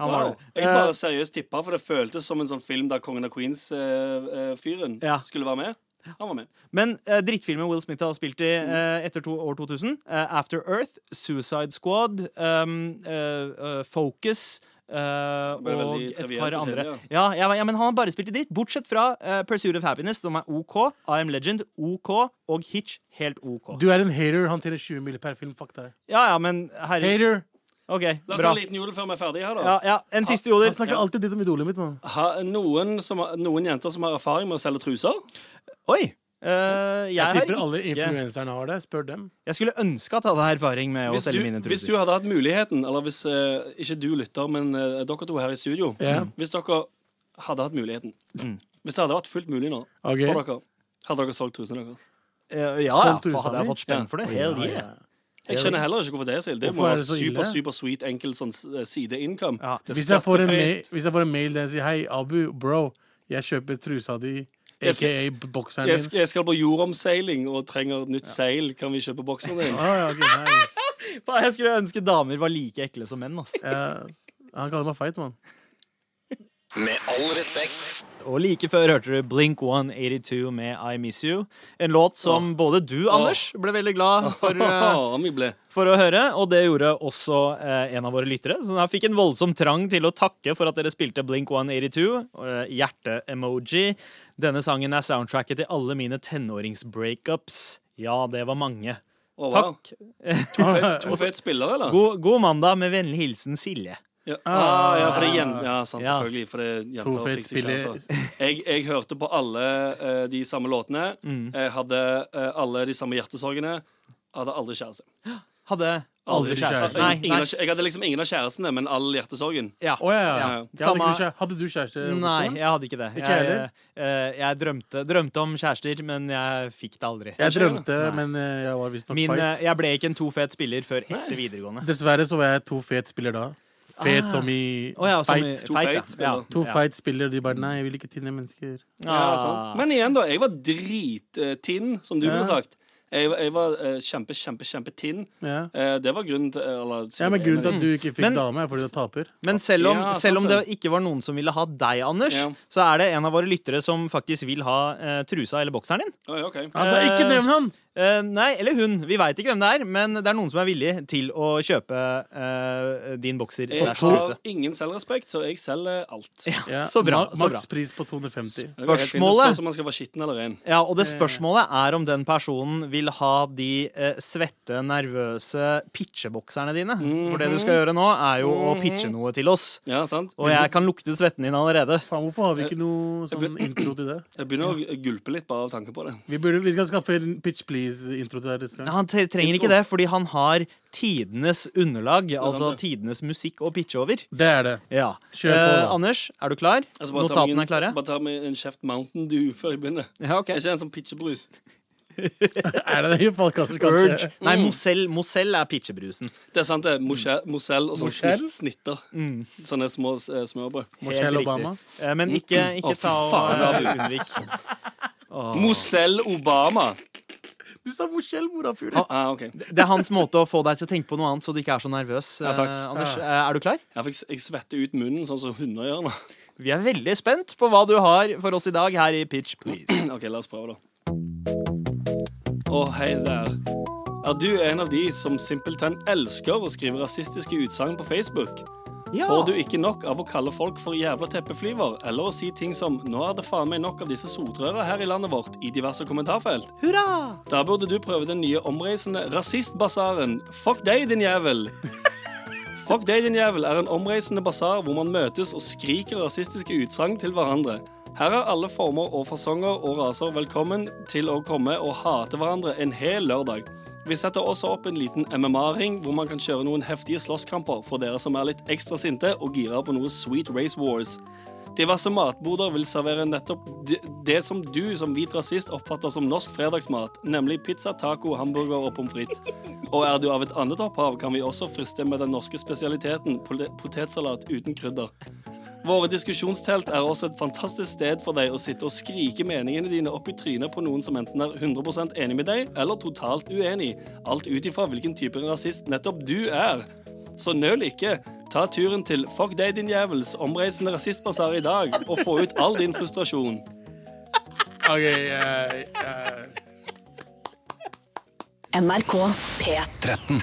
Speaker 5: Han
Speaker 7: Wow.
Speaker 5: var det.
Speaker 7: Jeg
Speaker 5: Eh,
Speaker 7: bare seriøst tippa, for det føltes som en sånn film der Kongen av Queens-fyren
Speaker 5: Ja.
Speaker 7: skulle være med. Han var med.
Speaker 5: men eh, drittfilmen Will Smith har spilt i eh, etter to, år 2000, eh, After Earth, Suicide Squad, um, eh, eh, Focus eh,
Speaker 7: ble
Speaker 5: og
Speaker 7: veldig
Speaker 5: et
Speaker 7: trivielt
Speaker 5: par
Speaker 7: og
Speaker 5: andre.
Speaker 7: kjedelig,
Speaker 5: Ja, ja, ja, men han har bare spilt i dritt, bortsett fra eh, Pursuit of Happiness, som er OK, I Am Legend, OK, og Hitch, helt OK.
Speaker 6: Du er en hater. Han tjener 20 mil per film. Fuck deg.
Speaker 5: Ja, ja, men herregud.
Speaker 6: Hater.
Speaker 5: OK,
Speaker 7: La oss ta
Speaker 5: bra.
Speaker 7: en liten jodel før vi er ferdige her, da.
Speaker 5: Ja, ja, en siste
Speaker 6: Han
Speaker 5: joder.
Speaker 6: snakker alltid dritt om idolet mitt, mann.
Speaker 7: Ha, noen, som, har- noen jenter som har erfaring med å selge truser?
Speaker 5: Oi! eh, jeg,
Speaker 6: Jeg
Speaker 5: har
Speaker 6: tipper alle
Speaker 5: ikke
Speaker 6: influenserne har det. Spør dem.
Speaker 5: Jeg skulle ønske at jeg hadde erfaring med å
Speaker 7: Hvis
Speaker 5: selge
Speaker 7: du,
Speaker 5: mine
Speaker 7: hvis du
Speaker 5: truser.
Speaker 7: hadde hatt muligheten, eller hvis eh, ikke du lytter, men eh, dere to her i studio
Speaker 6: Ja.
Speaker 7: Hvis dere hadde hatt muligheten
Speaker 5: Mm.
Speaker 7: Hvis det hadde vært fullt mulig nå
Speaker 6: Ok.
Speaker 7: for dere, hadde dere solgt trusene deres?
Speaker 5: Eh, ja, ja,
Speaker 6: Solgt
Speaker 5: for
Speaker 6: trusene
Speaker 5: hadde jeg
Speaker 6: mi?
Speaker 5: fått spenn
Speaker 7: Ja.
Speaker 5: for det? Hell yeah.
Speaker 7: Jeg skjønner heller ikke hvorfor det er så ille. Det må
Speaker 6: Hvorfor er
Speaker 7: være
Speaker 6: det så
Speaker 7: super,
Speaker 6: ille?
Speaker 7: super sweet, enkel sånn eh, side-income.
Speaker 5: Ja.
Speaker 7: Det er
Speaker 6: Hvis jeg, får en
Speaker 7: skattefritt.
Speaker 6: mail, hvis jeg får en mail der jeg sier 'Hei, Abu, bro, jeg kjøper trusa di',
Speaker 7: Jeg skal-
Speaker 6: aka bokseren
Speaker 7: Jeg,
Speaker 6: din.
Speaker 7: skal, jeg skal på jordomseiling og trenger nytt seil. Kan vi kjøpe boksen din?
Speaker 6: Ah, ja, ok, nice.
Speaker 5: Faen, Jeg skulle ønske damer var like ekle som menn. Ass.
Speaker 6: Ja, han kaller meg feit, mann.
Speaker 1: Med all respekt.
Speaker 5: Og like før hørte du Blink 182 med I Miss You. En låt som både du, Anders, ble veldig glad for, eh,
Speaker 7: Åh, vi ble.
Speaker 5: for å høre, og det gjorde også eh, en av våre lyttere. Så han fikk en voldsom trang til å takke for at dere spilte Blink 182. eh, Hjerte-emoji. Denne sangen er soundtracket til alle mine tenåringsbreakups. Ja, det var mange.
Speaker 7: Åh, wow.
Speaker 5: Takk.
Speaker 7: To fete spillere, eller?
Speaker 5: God, god mandag med vennlig hilsen Silje.
Speaker 7: Ja. Ah, ja, for det er jen ja, sant,
Speaker 5: Ja.
Speaker 7: selvfølgelig. For det er jenter
Speaker 6: Trofeit
Speaker 7: fikk seg ikke
Speaker 6: spiller-
Speaker 7: altså. jeg, jeg hørte på alle eh, de samme låtene.
Speaker 6: Mm.
Speaker 7: Jeg hadde eh, alle de samme hjertesorgene. Jeg hadde aldri kjæreste.
Speaker 5: Hadde aldri
Speaker 6: Aldri kjæreste.
Speaker 5: kjæreste.
Speaker 7: Ingen av- Jeg hadde liksom ingen av kjærestene, men all hjertesorgen.
Speaker 5: Ja.
Speaker 6: Å ja, ja. ja.
Speaker 7: Ja.
Speaker 6: Jeg hadde,
Speaker 5: Samme-
Speaker 6: ikke kjære- hadde du kjæreste? på
Speaker 5: Nei,
Speaker 6: skolen?
Speaker 5: jeg hadde ikke det.
Speaker 6: Ikke
Speaker 5: jeg
Speaker 6: heller?
Speaker 5: eh, jeg drømte, drømte om kjærester, men jeg fikk det aldri.
Speaker 6: Jeg drømte,
Speaker 5: Nei.
Speaker 6: men eh, jeg var visstnok
Speaker 5: Min, eh,
Speaker 6: fight.
Speaker 5: jeg ble ikke en to fet spiller før etter videregående.
Speaker 6: Dessverre så var jeg to fet spiller da. Fet som i
Speaker 5: Ah. Å ja, som i-
Speaker 6: fight.
Speaker 7: To
Speaker 5: feit,
Speaker 7: feit,
Speaker 5: ja.
Speaker 7: eller?
Speaker 6: To
Speaker 5: Ja.
Speaker 6: feit spiller, og de bare Nei, jeg vil ikke tynne mennesker.
Speaker 7: Ja,
Speaker 5: Ah.
Speaker 7: sant. Men igjen, da. Jeg var drittinn, som du
Speaker 6: Ja.
Speaker 7: ville sagt. Jeg, jeg var eh, kjempe, kjempe, kjempetinn.
Speaker 6: Ja.
Speaker 7: Eh, det var grunnen til eller,
Speaker 6: ja, men Grunnen til at du ikke fikk
Speaker 5: Mm. Men-
Speaker 6: dame, er fordi du taper.
Speaker 5: Men selv om,
Speaker 7: Ja, sant
Speaker 5: selv om det
Speaker 7: det.
Speaker 5: ikke var noen som ville ha deg, Anders,
Speaker 7: Ja.
Speaker 5: så er det en av våre lyttere som faktisk vil ha eh, trusa eller bokseren din.
Speaker 7: Oi, ok.
Speaker 6: Altså,
Speaker 5: Eh,
Speaker 6: ikke nevn han!
Speaker 5: Eh, nei, eller hun. Vi veit ikke hvem det er, men det er noen som er villig til å kjøpe eh, din bokser
Speaker 7: Jeg
Speaker 5: slash
Speaker 7: har
Speaker 5: truse.
Speaker 7: ingen selvrespekt, så jeg selger alt.
Speaker 6: Ja.
Speaker 5: så bra,
Speaker 6: Ma-
Speaker 5: så bra.
Speaker 6: Maks pris på 250.
Speaker 7: Det går helt fint. Det
Speaker 5: Spørsmålet-
Speaker 7: Spørs om man skal være skitten eller ren.
Speaker 5: Ja, og det spørsmålet er om den personen vil ha de eh, svette, nervøse pitchebokserne dine. For det du skal
Speaker 7: Mhm.
Speaker 5: gjøre nå, er jo å pitche noe til oss.
Speaker 7: Ja, sant?
Speaker 5: Og jeg kan lukte svetten din allerede.
Speaker 6: Faen, hvorfor har vi
Speaker 5: Eh,
Speaker 6: ikke noe sånn intro til det?
Speaker 7: Jeg begynner å gulpe litt bare av tanke på det.
Speaker 6: Vi, burde, vi skal skaffe en Pitch Please-intro til deg neste gang.
Speaker 5: Han tre- trenger ikke det, fordi han har tidenes underlag, altså
Speaker 7: det.
Speaker 5: tidenes musikk, å pitche over.
Speaker 6: Det er det.
Speaker 5: Ja.
Speaker 6: Kjør på,
Speaker 5: Eh,
Speaker 6: da.
Speaker 5: Anders, er du klar?
Speaker 7: Altså, bare ta meg
Speaker 5: Notatene
Speaker 7: en-
Speaker 5: er klare?
Speaker 7: Bare ta meg en kjeft Mountain Dew før jeg begynner.
Speaker 5: Ja, ok.
Speaker 7: Jeg er ikke en sånn pitchebrus.
Speaker 6: Er det det? i fall, Kanskje, kanskje.
Speaker 5: Urge.
Speaker 7: Mm.
Speaker 5: Nei, Mosell, Mosell er pitchebrusen.
Speaker 7: Det er sant, det. er Moshe- Mosell og sånn
Speaker 6: Moselle?
Speaker 7: snitt, snitter.
Speaker 5: Mm.
Speaker 7: Sånne små eh, smørbrød.
Speaker 6: Michelle
Speaker 5: Helt riktig.
Speaker 6: Obama.
Speaker 5: Eh, Men ikke,
Speaker 7: Mm. Å,
Speaker 5: ikke
Speaker 7: fy
Speaker 5: ta og
Speaker 7: faen,
Speaker 5: eh, unnvik.
Speaker 7: Mosell Obama.
Speaker 6: Du sa Michelle, morapule.
Speaker 7: Ah, ok.
Speaker 5: Det er hans måte å få deg til å tenke på noe annet, så du ikke er så nervøs.
Speaker 7: Ja, takk.
Speaker 5: eh, Anders, eh, er du klar?
Speaker 7: Jeg, fikk, jeg svetter ut munnen sånn som hunder gjør nå.
Speaker 5: Vi er veldig spent på hva du har for oss i dag her i Pitch Please.
Speaker 7: Ok, la oss prøve, da. Å, hei der. Er du en av de som simpelthen elsker å skrive rasistiske utsagn på Facebook? Får du ikke nok av å kalle folk for jævla teppeflyver, eller å si ting som 'Nå er det faen meg nok av disse sotrøra her i landet vårt' i diverse kommentarfelt?
Speaker 5: Hurra!
Speaker 7: Da burde du prøve den nye omreisende rasistbasaren Fuck deg, din jævel! Fuck deg, din jævel er en omreisende basar hvor man møtes og skriker rasistiske utsagn til hverandre. Her er alle former og fasonger og raser velkommen til å komme og hate hverandre en hel lørdag. Vi setter også opp en liten MMA-ring hvor man kan kjøre noen heftige slåsskamper for dere som er litt ekstra sinte og gira på noe Sweet Race Wars. Diverse matboder vil servere nettopp d- det som du som hvit rasist oppfatter som norsk fredagsmat, nemlig pizza, taco, hamburger og pommes frites. Og er du av et annet opphav, kan vi også friste med den norske spesialiteten pol- potetsalat uten krydder. Våre diskusjonstelt er også et fantastisk sted for deg å sitte og skrike meningene dine opp i trynet på noen som enten er 100 enig med deg, eller totalt uenig, alt ut ifra hvilken type rasist nettopp du er. Så nøl ikke. Ta turen til Fuck deg, din jævels omreisende rasistbasar i dag, og få ut all din frustrasjon.
Speaker 6: Ok, eh, eh,
Speaker 3: NRK P13.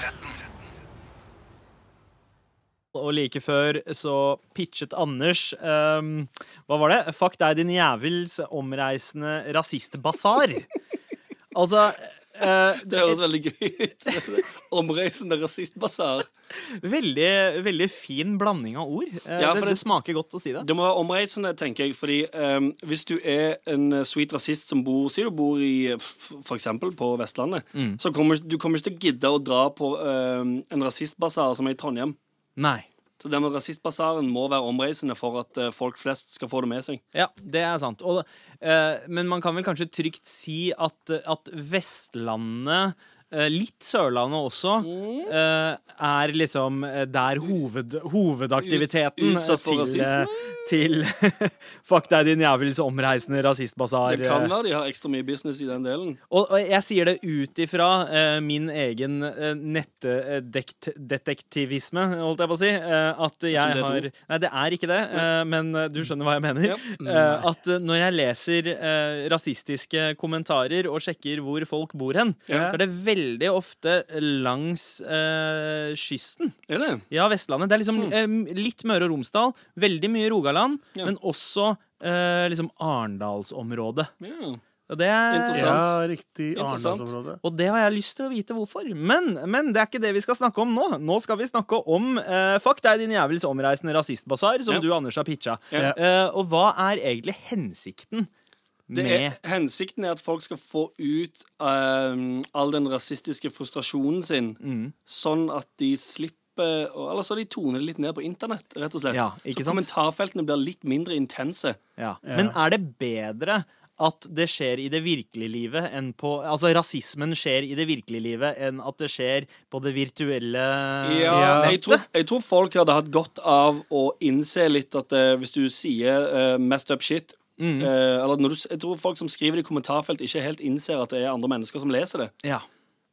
Speaker 5: Og like før så pitchet Anders ehm, Hva var det? Fuck deg, din jævels omreisende rasistbasar. Altså eh,
Speaker 7: Det høres veldig gøy ut. Omreisende rasistbasar.
Speaker 5: veldig, veldig fin blanding av ord. Eh,
Speaker 7: Ja,
Speaker 5: det,
Speaker 7: for
Speaker 5: det
Speaker 7: det-
Speaker 5: smaker godt å si det.
Speaker 7: Det må være omreisende, tenker jeg. Fordi ehm, hvis du er en eh, sweet rasist som bor Si du bor i eh, f- for eksempel på Vestlandet, så kommer du kommer ikke til å gidde å dra på ehm, en rasistbasar som er i Trondheim.
Speaker 5: Nei.
Speaker 7: Så det med rasistbasaren må være omreisende for at eh, folk flest skal få det med seg.
Speaker 5: Ja, det er sant. Og, eh, men man kan vel kanskje trygt si at, at Vestlandet eh, litt Sørlandet også
Speaker 7: Mm.
Speaker 5: eh, er liksom eh, der hoved, hovedaktiviteten
Speaker 7: Ut- utsatt for
Speaker 5: til, eh,
Speaker 7: rasisme?
Speaker 5: til Fuck deg, din jævels omreisende rasistbasar. eh,
Speaker 7: Det kan være de har ekstra mye business i den delen.
Speaker 5: Og, og jeg sier det ut ifra eh, min egen eh, nettdetektivisme, holdt jeg på å si. eh, at
Speaker 7: om det
Speaker 5: jeg
Speaker 7: er
Speaker 5: har
Speaker 7: et
Speaker 5: Nei, det er ikke det, eh, men eh, du skjønner hva jeg mener.
Speaker 7: Ja.
Speaker 5: Eh, at eh, når jeg leser eh, rasistiske kommentarer og sjekker hvor folk bor hen,
Speaker 7: Ja.
Speaker 5: så er det veldig ofte langs eh, kysten.
Speaker 7: Er det?
Speaker 5: Ja, Vestlandet. Det er liksom eh, litt Møre og Romsdal, veldig mye Rogaland,
Speaker 7: Mm. Ja.
Speaker 5: men også eh, liksom Arendalsområdet.
Speaker 7: Ja.
Speaker 5: Og det, er-
Speaker 7: Interessant.
Speaker 6: Ja, riktig.
Speaker 7: Interessant.
Speaker 6: Arendalsområdet.
Speaker 5: og det har jeg lyst til å vite hvorfor. Men, men det er ikke det vi skal snakke om nå. Nå skal vi snakke om eh, Fuck deg, din jævels omreisende rasistbasar, som
Speaker 7: Ja.
Speaker 5: du, Anders, har pitcha.
Speaker 7: Ja.
Speaker 5: Eh, og hva er egentlig hensikten
Speaker 7: Det
Speaker 5: med
Speaker 7: er, hensikten er at folk skal få ut ehm, all den rasistiske frustrasjonen sin,
Speaker 5: Mm.
Speaker 7: sånn at de slipper å- Eller så de toner det litt ned på internett, rett og slett.
Speaker 5: Ja, ikke
Speaker 7: så
Speaker 5: sant?
Speaker 7: kommentarfeltene blir litt mindre intense.
Speaker 5: Ja. Men er det bedre at det skjer i det virkelige livet enn på Altså rasismen skjer i det virkelige livet enn at det skjer på det virtuelle
Speaker 7: Ja,
Speaker 5: Eh, nettet?
Speaker 7: jeg, tror, jeg tror folk hadde hatt godt av å innse litt at eh, hvis du sier eh, messed up shit
Speaker 5: Mm.
Speaker 7: eh, eller når du, s- Jeg tror folk som skriver det i kommentarfelt, ikke helt innser at det er andre mennesker som leser det.
Speaker 5: Ja.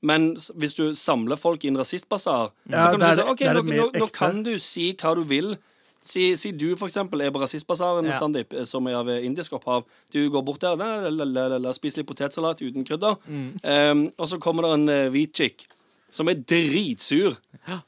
Speaker 7: Men s- hvis du samler folk i en rasistbasar,
Speaker 6: Ja,
Speaker 7: så kan du
Speaker 6: da er
Speaker 7: si
Speaker 6: det-
Speaker 7: sånn, OK,
Speaker 6: da er
Speaker 7: nå, nå,
Speaker 6: det mer
Speaker 7: nå
Speaker 6: ekte.»
Speaker 7: kan du si hva du vil. Si, si du for eksempel er på rasistbasaren,
Speaker 5: Ja.
Speaker 7: Sandeep, eh, som er av eh, indisk opphav. Du går bort der, la, la, la, la, la, spiser litt potetsalat uten krydder.
Speaker 6: Mm.
Speaker 7: Ehm, og så kommer det en eh, hvit chick som er dritsur,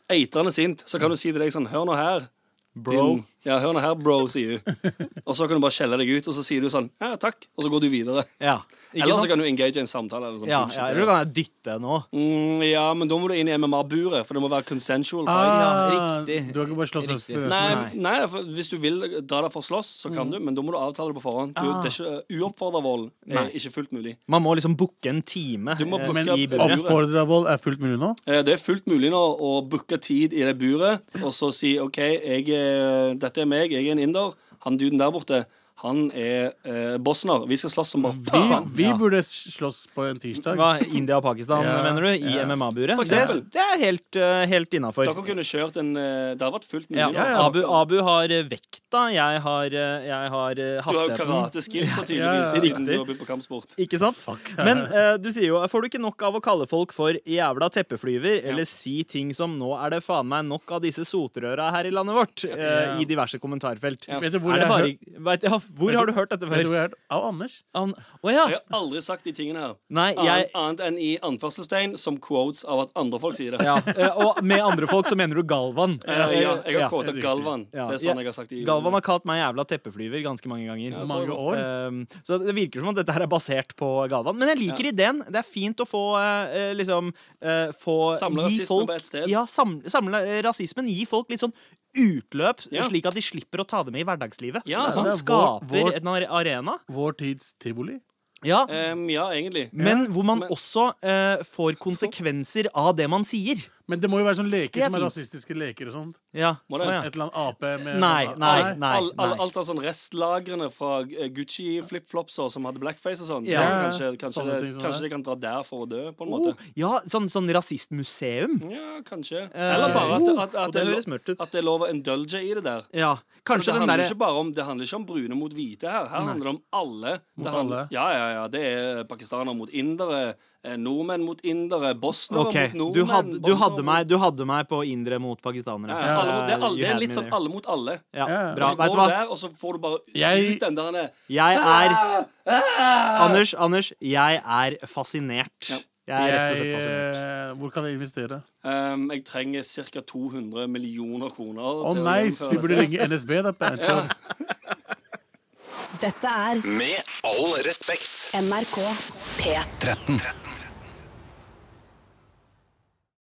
Speaker 7: eitrende sint. Så kan du si til deg sånn Hør nå her.
Speaker 5: Bro.
Speaker 7: Din, ja, hør nå her, bro, sier du. Og så kan du bare skjelle deg ut, og så sier du sånn Ja, takk. Og så går du videre.
Speaker 5: Ja. Ikke
Speaker 7: Eller så
Speaker 5: sant?
Speaker 7: kan du engage i en samtale. Eller sånn,
Speaker 5: ja,
Speaker 7: bullshit.
Speaker 5: ja, eller så kan jeg dytte nå.
Speaker 7: Mm, ja, men da må du inn i MMA-buret, for det må være consensual. fight.
Speaker 6: Ah,
Speaker 5: riktig.
Speaker 6: Du har ikke bare slåss løs på
Speaker 7: Nei,
Speaker 6: løs.
Speaker 7: nei, for hvis du vil dra deg for å slåss, så
Speaker 6: Mm.
Speaker 7: kan du, men da må du avtale det på forhånd. Du,
Speaker 6: Ah.
Speaker 7: det er ikke, uoppfordra vold er
Speaker 5: Nei.
Speaker 7: ikke fullt mulig.
Speaker 5: Man må liksom booke en time
Speaker 7: Du må
Speaker 5: eh,
Speaker 7: booke
Speaker 5: i
Speaker 7: opp-
Speaker 5: buret.
Speaker 6: Oppfordra vold er fullt mulig nå?
Speaker 7: Eh, Det er fullt mulig nå å booke tid i det buret og så si OK, jeg, er- dette er meg, jeg er en inder. Han duden der borte, han er eh, bosner. Vi skal slåss som bare
Speaker 6: Vi,
Speaker 7: faen.
Speaker 6: vi
Speaker 5: Ja.
Speaker 6: burde slåss på en tirsdag.
Speaker 5: Hva, India og Pakistan,
Speaker 6: Ja,
Speaker 5: mener du? I
Speaker 6: ja.
Speaker 5: MMA-buret?
Speaker 7: For
Speaker 5: Det,
Speaker 7: eksempel.
Speaker 5: det er helt, eh, helt innafor.
Speaker 7: Dere kunne kjørt en eh, Det har vært fullt mulig.
Speaker 5: Ja,
Speaker 7: nå.
Speaker 5: Abu, Abu har eh, vekta, jeg har, eh, jeg har eh,
Speaker 7: Du har jo
Speaker 5: hastigheten.
Speaker 7: karateskills, så
Speaker 6: ja,
Speaker 7: tydeligvis,
Speaker 6: ja.
Speaker 7: siden du
Speaker 5: Riktig.
Speaker 7: har begynt på kampsport.
Speaker 5: Ikke sant? Men eh, du sier jo Får du ikke nok av å kalle folk for jævla teppeflyver, eller si ting som 'nå er det faen meg nok av disse sotrøra her i landet vårt', eh, i diverse kommentarfelt.
Speaker 7: Ja.
Speaker 6: Vet du hvor
Speaker 5: er
Speaker 6: jeg
Speaker 5: det bare,
Speaker 6: hør-
Speaker 5: vet, ja, hvor har du hørt dette
Speaker 6: vet du
Speaker 5: før?
Speaker 6: hvor jeg har hørt? Av Anders.
Speaker 5: Han- Å ja!
Speaker 7: Jeg har aldri sagt de tingene her.
Speaker 5: Nei, jeg
Speaker 7: Annet, annet enn i anførselstegn som quotes av at andre folk sier det.
Speaker 5: ja, eh, Og med andre folk så mener du Galvan.
Speaker 7: Eh, ja, jeg
Speaker 5: Ja.
Speaker 7: har quota Galvan.
Speaker 5: Ja.
Speaker 7: Det er sånn jeg har sagt i
Speaker 5: Galvan har kalt meg jævla teppeflyver ganske mange ganger.
Speaker 7: Ja,
Speaker 6: Mange år.
Speaker 5: Um, Så det virker som at dette her er basert på Galvan. Men jeg liker ideen. Det er fint å få eh, eh, liksom eh, få,
Speaker 7: Samle
Speaker 5: gi
Speaker 7: rasismen
Speaker 5: folk-
Speaker 7: på ett sted.
Speaker 5: Ja, samle, samle eh, rasismen. Gi folk litt sånn utløp,
Speaker 7: Ja.
Speaker 5: slik at de slipper å ta det med i hverdagslivet.
Speaker 7: Ja,
Speaker 5: så han
Speaker 6: det er vår-
Speaker 5: skaper
Speaker 6: vår-
Speaker 5: en ar- arena.
Speaker 6: Vår tids tivoli.
Speaker 5: Ja,
Speaker 7: Em, Eh, ja, egentlig.
Speaker 5: men hvor man
Speaker 7: men-
Speaker 5: også eh, får konsekvenser av det man sier.
Speaker 6: Men det må jo være sånne
Speaker 5: Det
Speaker 6: leker
Speaker 5: er
Speaker 6: som er
Speaker 5: fint.
Speaker 6: rasistiske leker og sånt.
Speaker 5: Ja,
Speaker 7: Må det-
Speaker 5: sånn, ja.
Speaker 6: Et eller annet ape med
Speaker 5: Nei, nei, nei.
Speaker 7: All, all,
Speaker 5: nei.
Speaker 7: alt av sånn restlagrene fra eh, Gucci-flipflopser som hadde blackface og sånn.
Speaker 5: Ja.
Speaker 7: det er Kanskje, kanskje,
Speaker 6: Sånne
Speaker 7: det,
Speaker 6: ting som
Speaker 7: kanskje
Speaker 6: det.
Speaker 7: de kan dra der for å dø, på
Speaker 5: Oh,
Speaker 7: en måte.
Speaker 5: ja, sånn, sånn rasistmuseum.
Speaker 7: Ja, kanskje.
Speaker 5: Eh,
Speaker 7: Eller bare at,
Speaker 5: oh,
Speaker 7: at, at,
Speaker 5: og det
Speaker 7: er lo-
Speaker 5: høres mørkt ut.
Speaker 7: at det er lov å indulge i det der.
Speaker 5: Ja,
Speaker 7: For
Speaker 5: kanskje
Speaker 7: det,
Speaker 5: den
Speaker 7: handler
Speaker 5: derre
Speaker 7: ikke bare om, det handler ikke om brune mot hvite her. Her handler det om alle.
Speaker 6: Mot
Speaker 7: det handler,
Speaker 6: alle.
Speaker 7: Ja, ja, ja. Det er pakistanere mot indere, eh, nordmenn mot indere, bosnere
Speaker 5: Ok,
Speaker 7: mot nordmenn.
Speaker 5: du hadde, du,
Speaker 7: bosnere
Speaker 5: hadde
Speaker 7: mot-
Speaker 5: meg, du hadde meg på indre mot
Speaker 7: Ja,
Speaker 5: pakistanere.
Speaker 7: ja, alle, mot- det, er alle,
Speaker 5: You
Speaker 7: det er
Speaker 5: had
Speaker 7: litt
Speaker 5: me
Speaker 7: sånn
Speaker 5: there.
Speaker 7: alle mot alle.
Speaker 5: Ja,
Speaker 6: Ja, ja.
Speaker 5: bra. Vet
Speaker 7: Så går
Speaker 5: du
Speaker 7: du
Speaker 5: hva?
Speaker 7: der, og så får du bare
Speaker 6: Jeg-
Speaker 7: ut den der
Speaker 5: Jeg er
Speaker 7: Ah!
Speaker 5: Anders, Anders, jeg er fascinert.
Speaker 7: Ja.
Speaker 5: Jeg er rett og
Speaker 6: Jeg,
Speaker 5: slett fascinert.
Speaker 6: eh, hvor kan jeg investere?
Speaker 7: Ehm, Jeg trenger ca. 200 millioner kroner.
Speaker 6: Å
Speaker 7: til å
Speaker 6: nei,
Speaker 7: gjennomføre
Speaker 6: vi burde
Speaker 7: dette.
Speaker 6: ringe NSB, da. Pancho.
Speaker 3: Dette er
Speaker 1: Med all respekt.
Speaker 3: NRK P13.